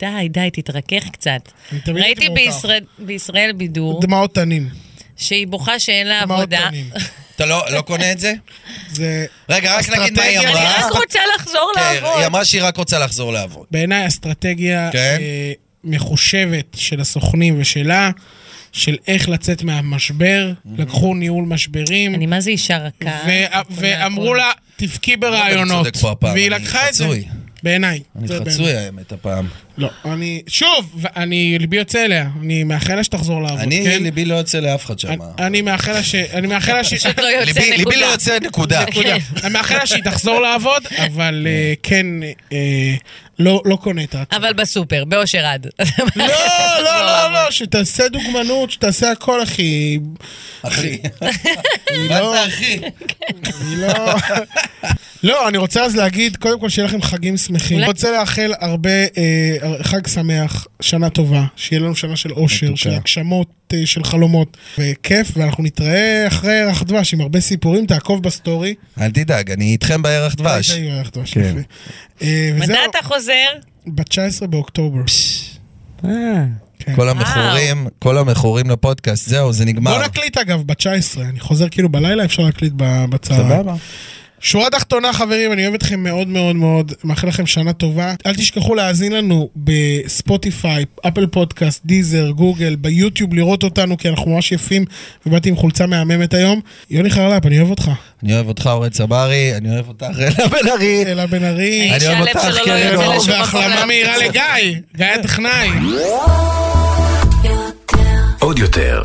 G: די, די, תתרכך קצת.
B: אני תמיד הייתי
G: ראיתי
B: מעורפל.
G: בישראל- בישראל בידור,
B: דמעות תנים.
G: שהיא בוכה שאין לה
B: דמעות
G: עבודה.
B: תנים.
C: אתה לא לא קונה את זה?
B: זה
C: רגע, רק נגיד מה היא
B: אסטרטגיה.
G: אני
C: אמרה.
G: רק רוצה לחזור
C: כן,
G: לעבוד.
C: היא אמרה שהיא רק רוצה לחזור לעבוד.
B: בעיניי אסטרטגיה
C: כן.
B: אה, מחושבת של הסוכנים ושלה, של איך לצאת מהמשבר.
C: Mm-hmm.
B: לקחו ניהול משברים.
G: אני מה זה אישה רכה.
C: אה,
B: ו-
G: אני יכולה
B: ואמרו
G: הכל.
B: לה, תבכי
C: אני
B: ברעיונות.
C: לא, צודק פה הפעם,
B: והיא
C: אני
B: לקחה את זה.
C: חצוי.
B: בעיניי.
C: אני
B: זה
C: חצוי האמת הפעם.
B: בעיניי. לא, אני... שוב, ו- אני... ליבי יוצא אליה. אני מאחל לה שתחזור לעבוד,
C: אני,
B: כן?
C: ליבי לא יוצא לאף אחד שם.
B: אני- אני מאחל לה ש... אני מאחל לה ש...
G: פשוט לא יוצא
C: ליבי ליבי לא
G: נקודה.
C: יוצא נקודה.
B: נקודה. אני מאחל לה שהיא תחזור לעבוד, אבל אה, כן, אה, לא לא קונה את ההצעה.
G: אבל בסופר, באושר עד.
B: לא, לא, לא, לא, שתעשה דוגמנות, שתעשה הכל, אחי.
C: אחי.
B: לא, אני לא... לא, אני רוצה אז להגיד, קודם כל שיהיה לכם חגים שמחים. אני
G: אולי-
B: רוצה לאחל הרבה אה, חג שמח, שנה טובה, שיהיה לנו שנה של אושר, של הגשמות, אה, של חלומות. וכיף, ואנחנו נתראה אחרי ירח דבש עם הרבה סיפורים, תעקוב בסטורי.
C: אל תדאג, אני איתכם בירח דבש.
B: היי, ירח דבש,
C: כן.
B: יפה. אה, וזהו,
G: מתי אתה חוזר?
B: ב-19 באוקטובר. כן.
C: כל המכורים, כל המכורים לפודקאסט, זהו, זה נגמר.
B: בוא נקליט אגב, ב-19, אני חוזר כאילו בלילה, אפשר להקליט ב- בצהריים.
F: אה,
C: סבבה.
B: שורה תחתונה חברים, אני אוהב אתכם מאוד מאוד מאוד, מאחל לכם שנה טובה. אל תשכחו להאזין לנו בספוטיפיי, אפל פודקאסט, דיזר, גוגל, ביוטיוב לראות אותנו, כי אנחנו ממש יפים, ובאתי עם חולצה מהממת היום. יוני חרלפ, אני אוהב אותך.
C: אני אוהב אותך, אורן צברי, אני אוהב אותך, אלה בן ארי.
B: אלה בן ארי,
G: האיש
C: אוהב
G: שהלב
C: אותך,
G: שלו לא
C: קרן
G: יוצא
C: אור,
G: לשום מקום.
B: והחלמה מהירה לגיא, גיא הטכנאי.
A: עוד יותר,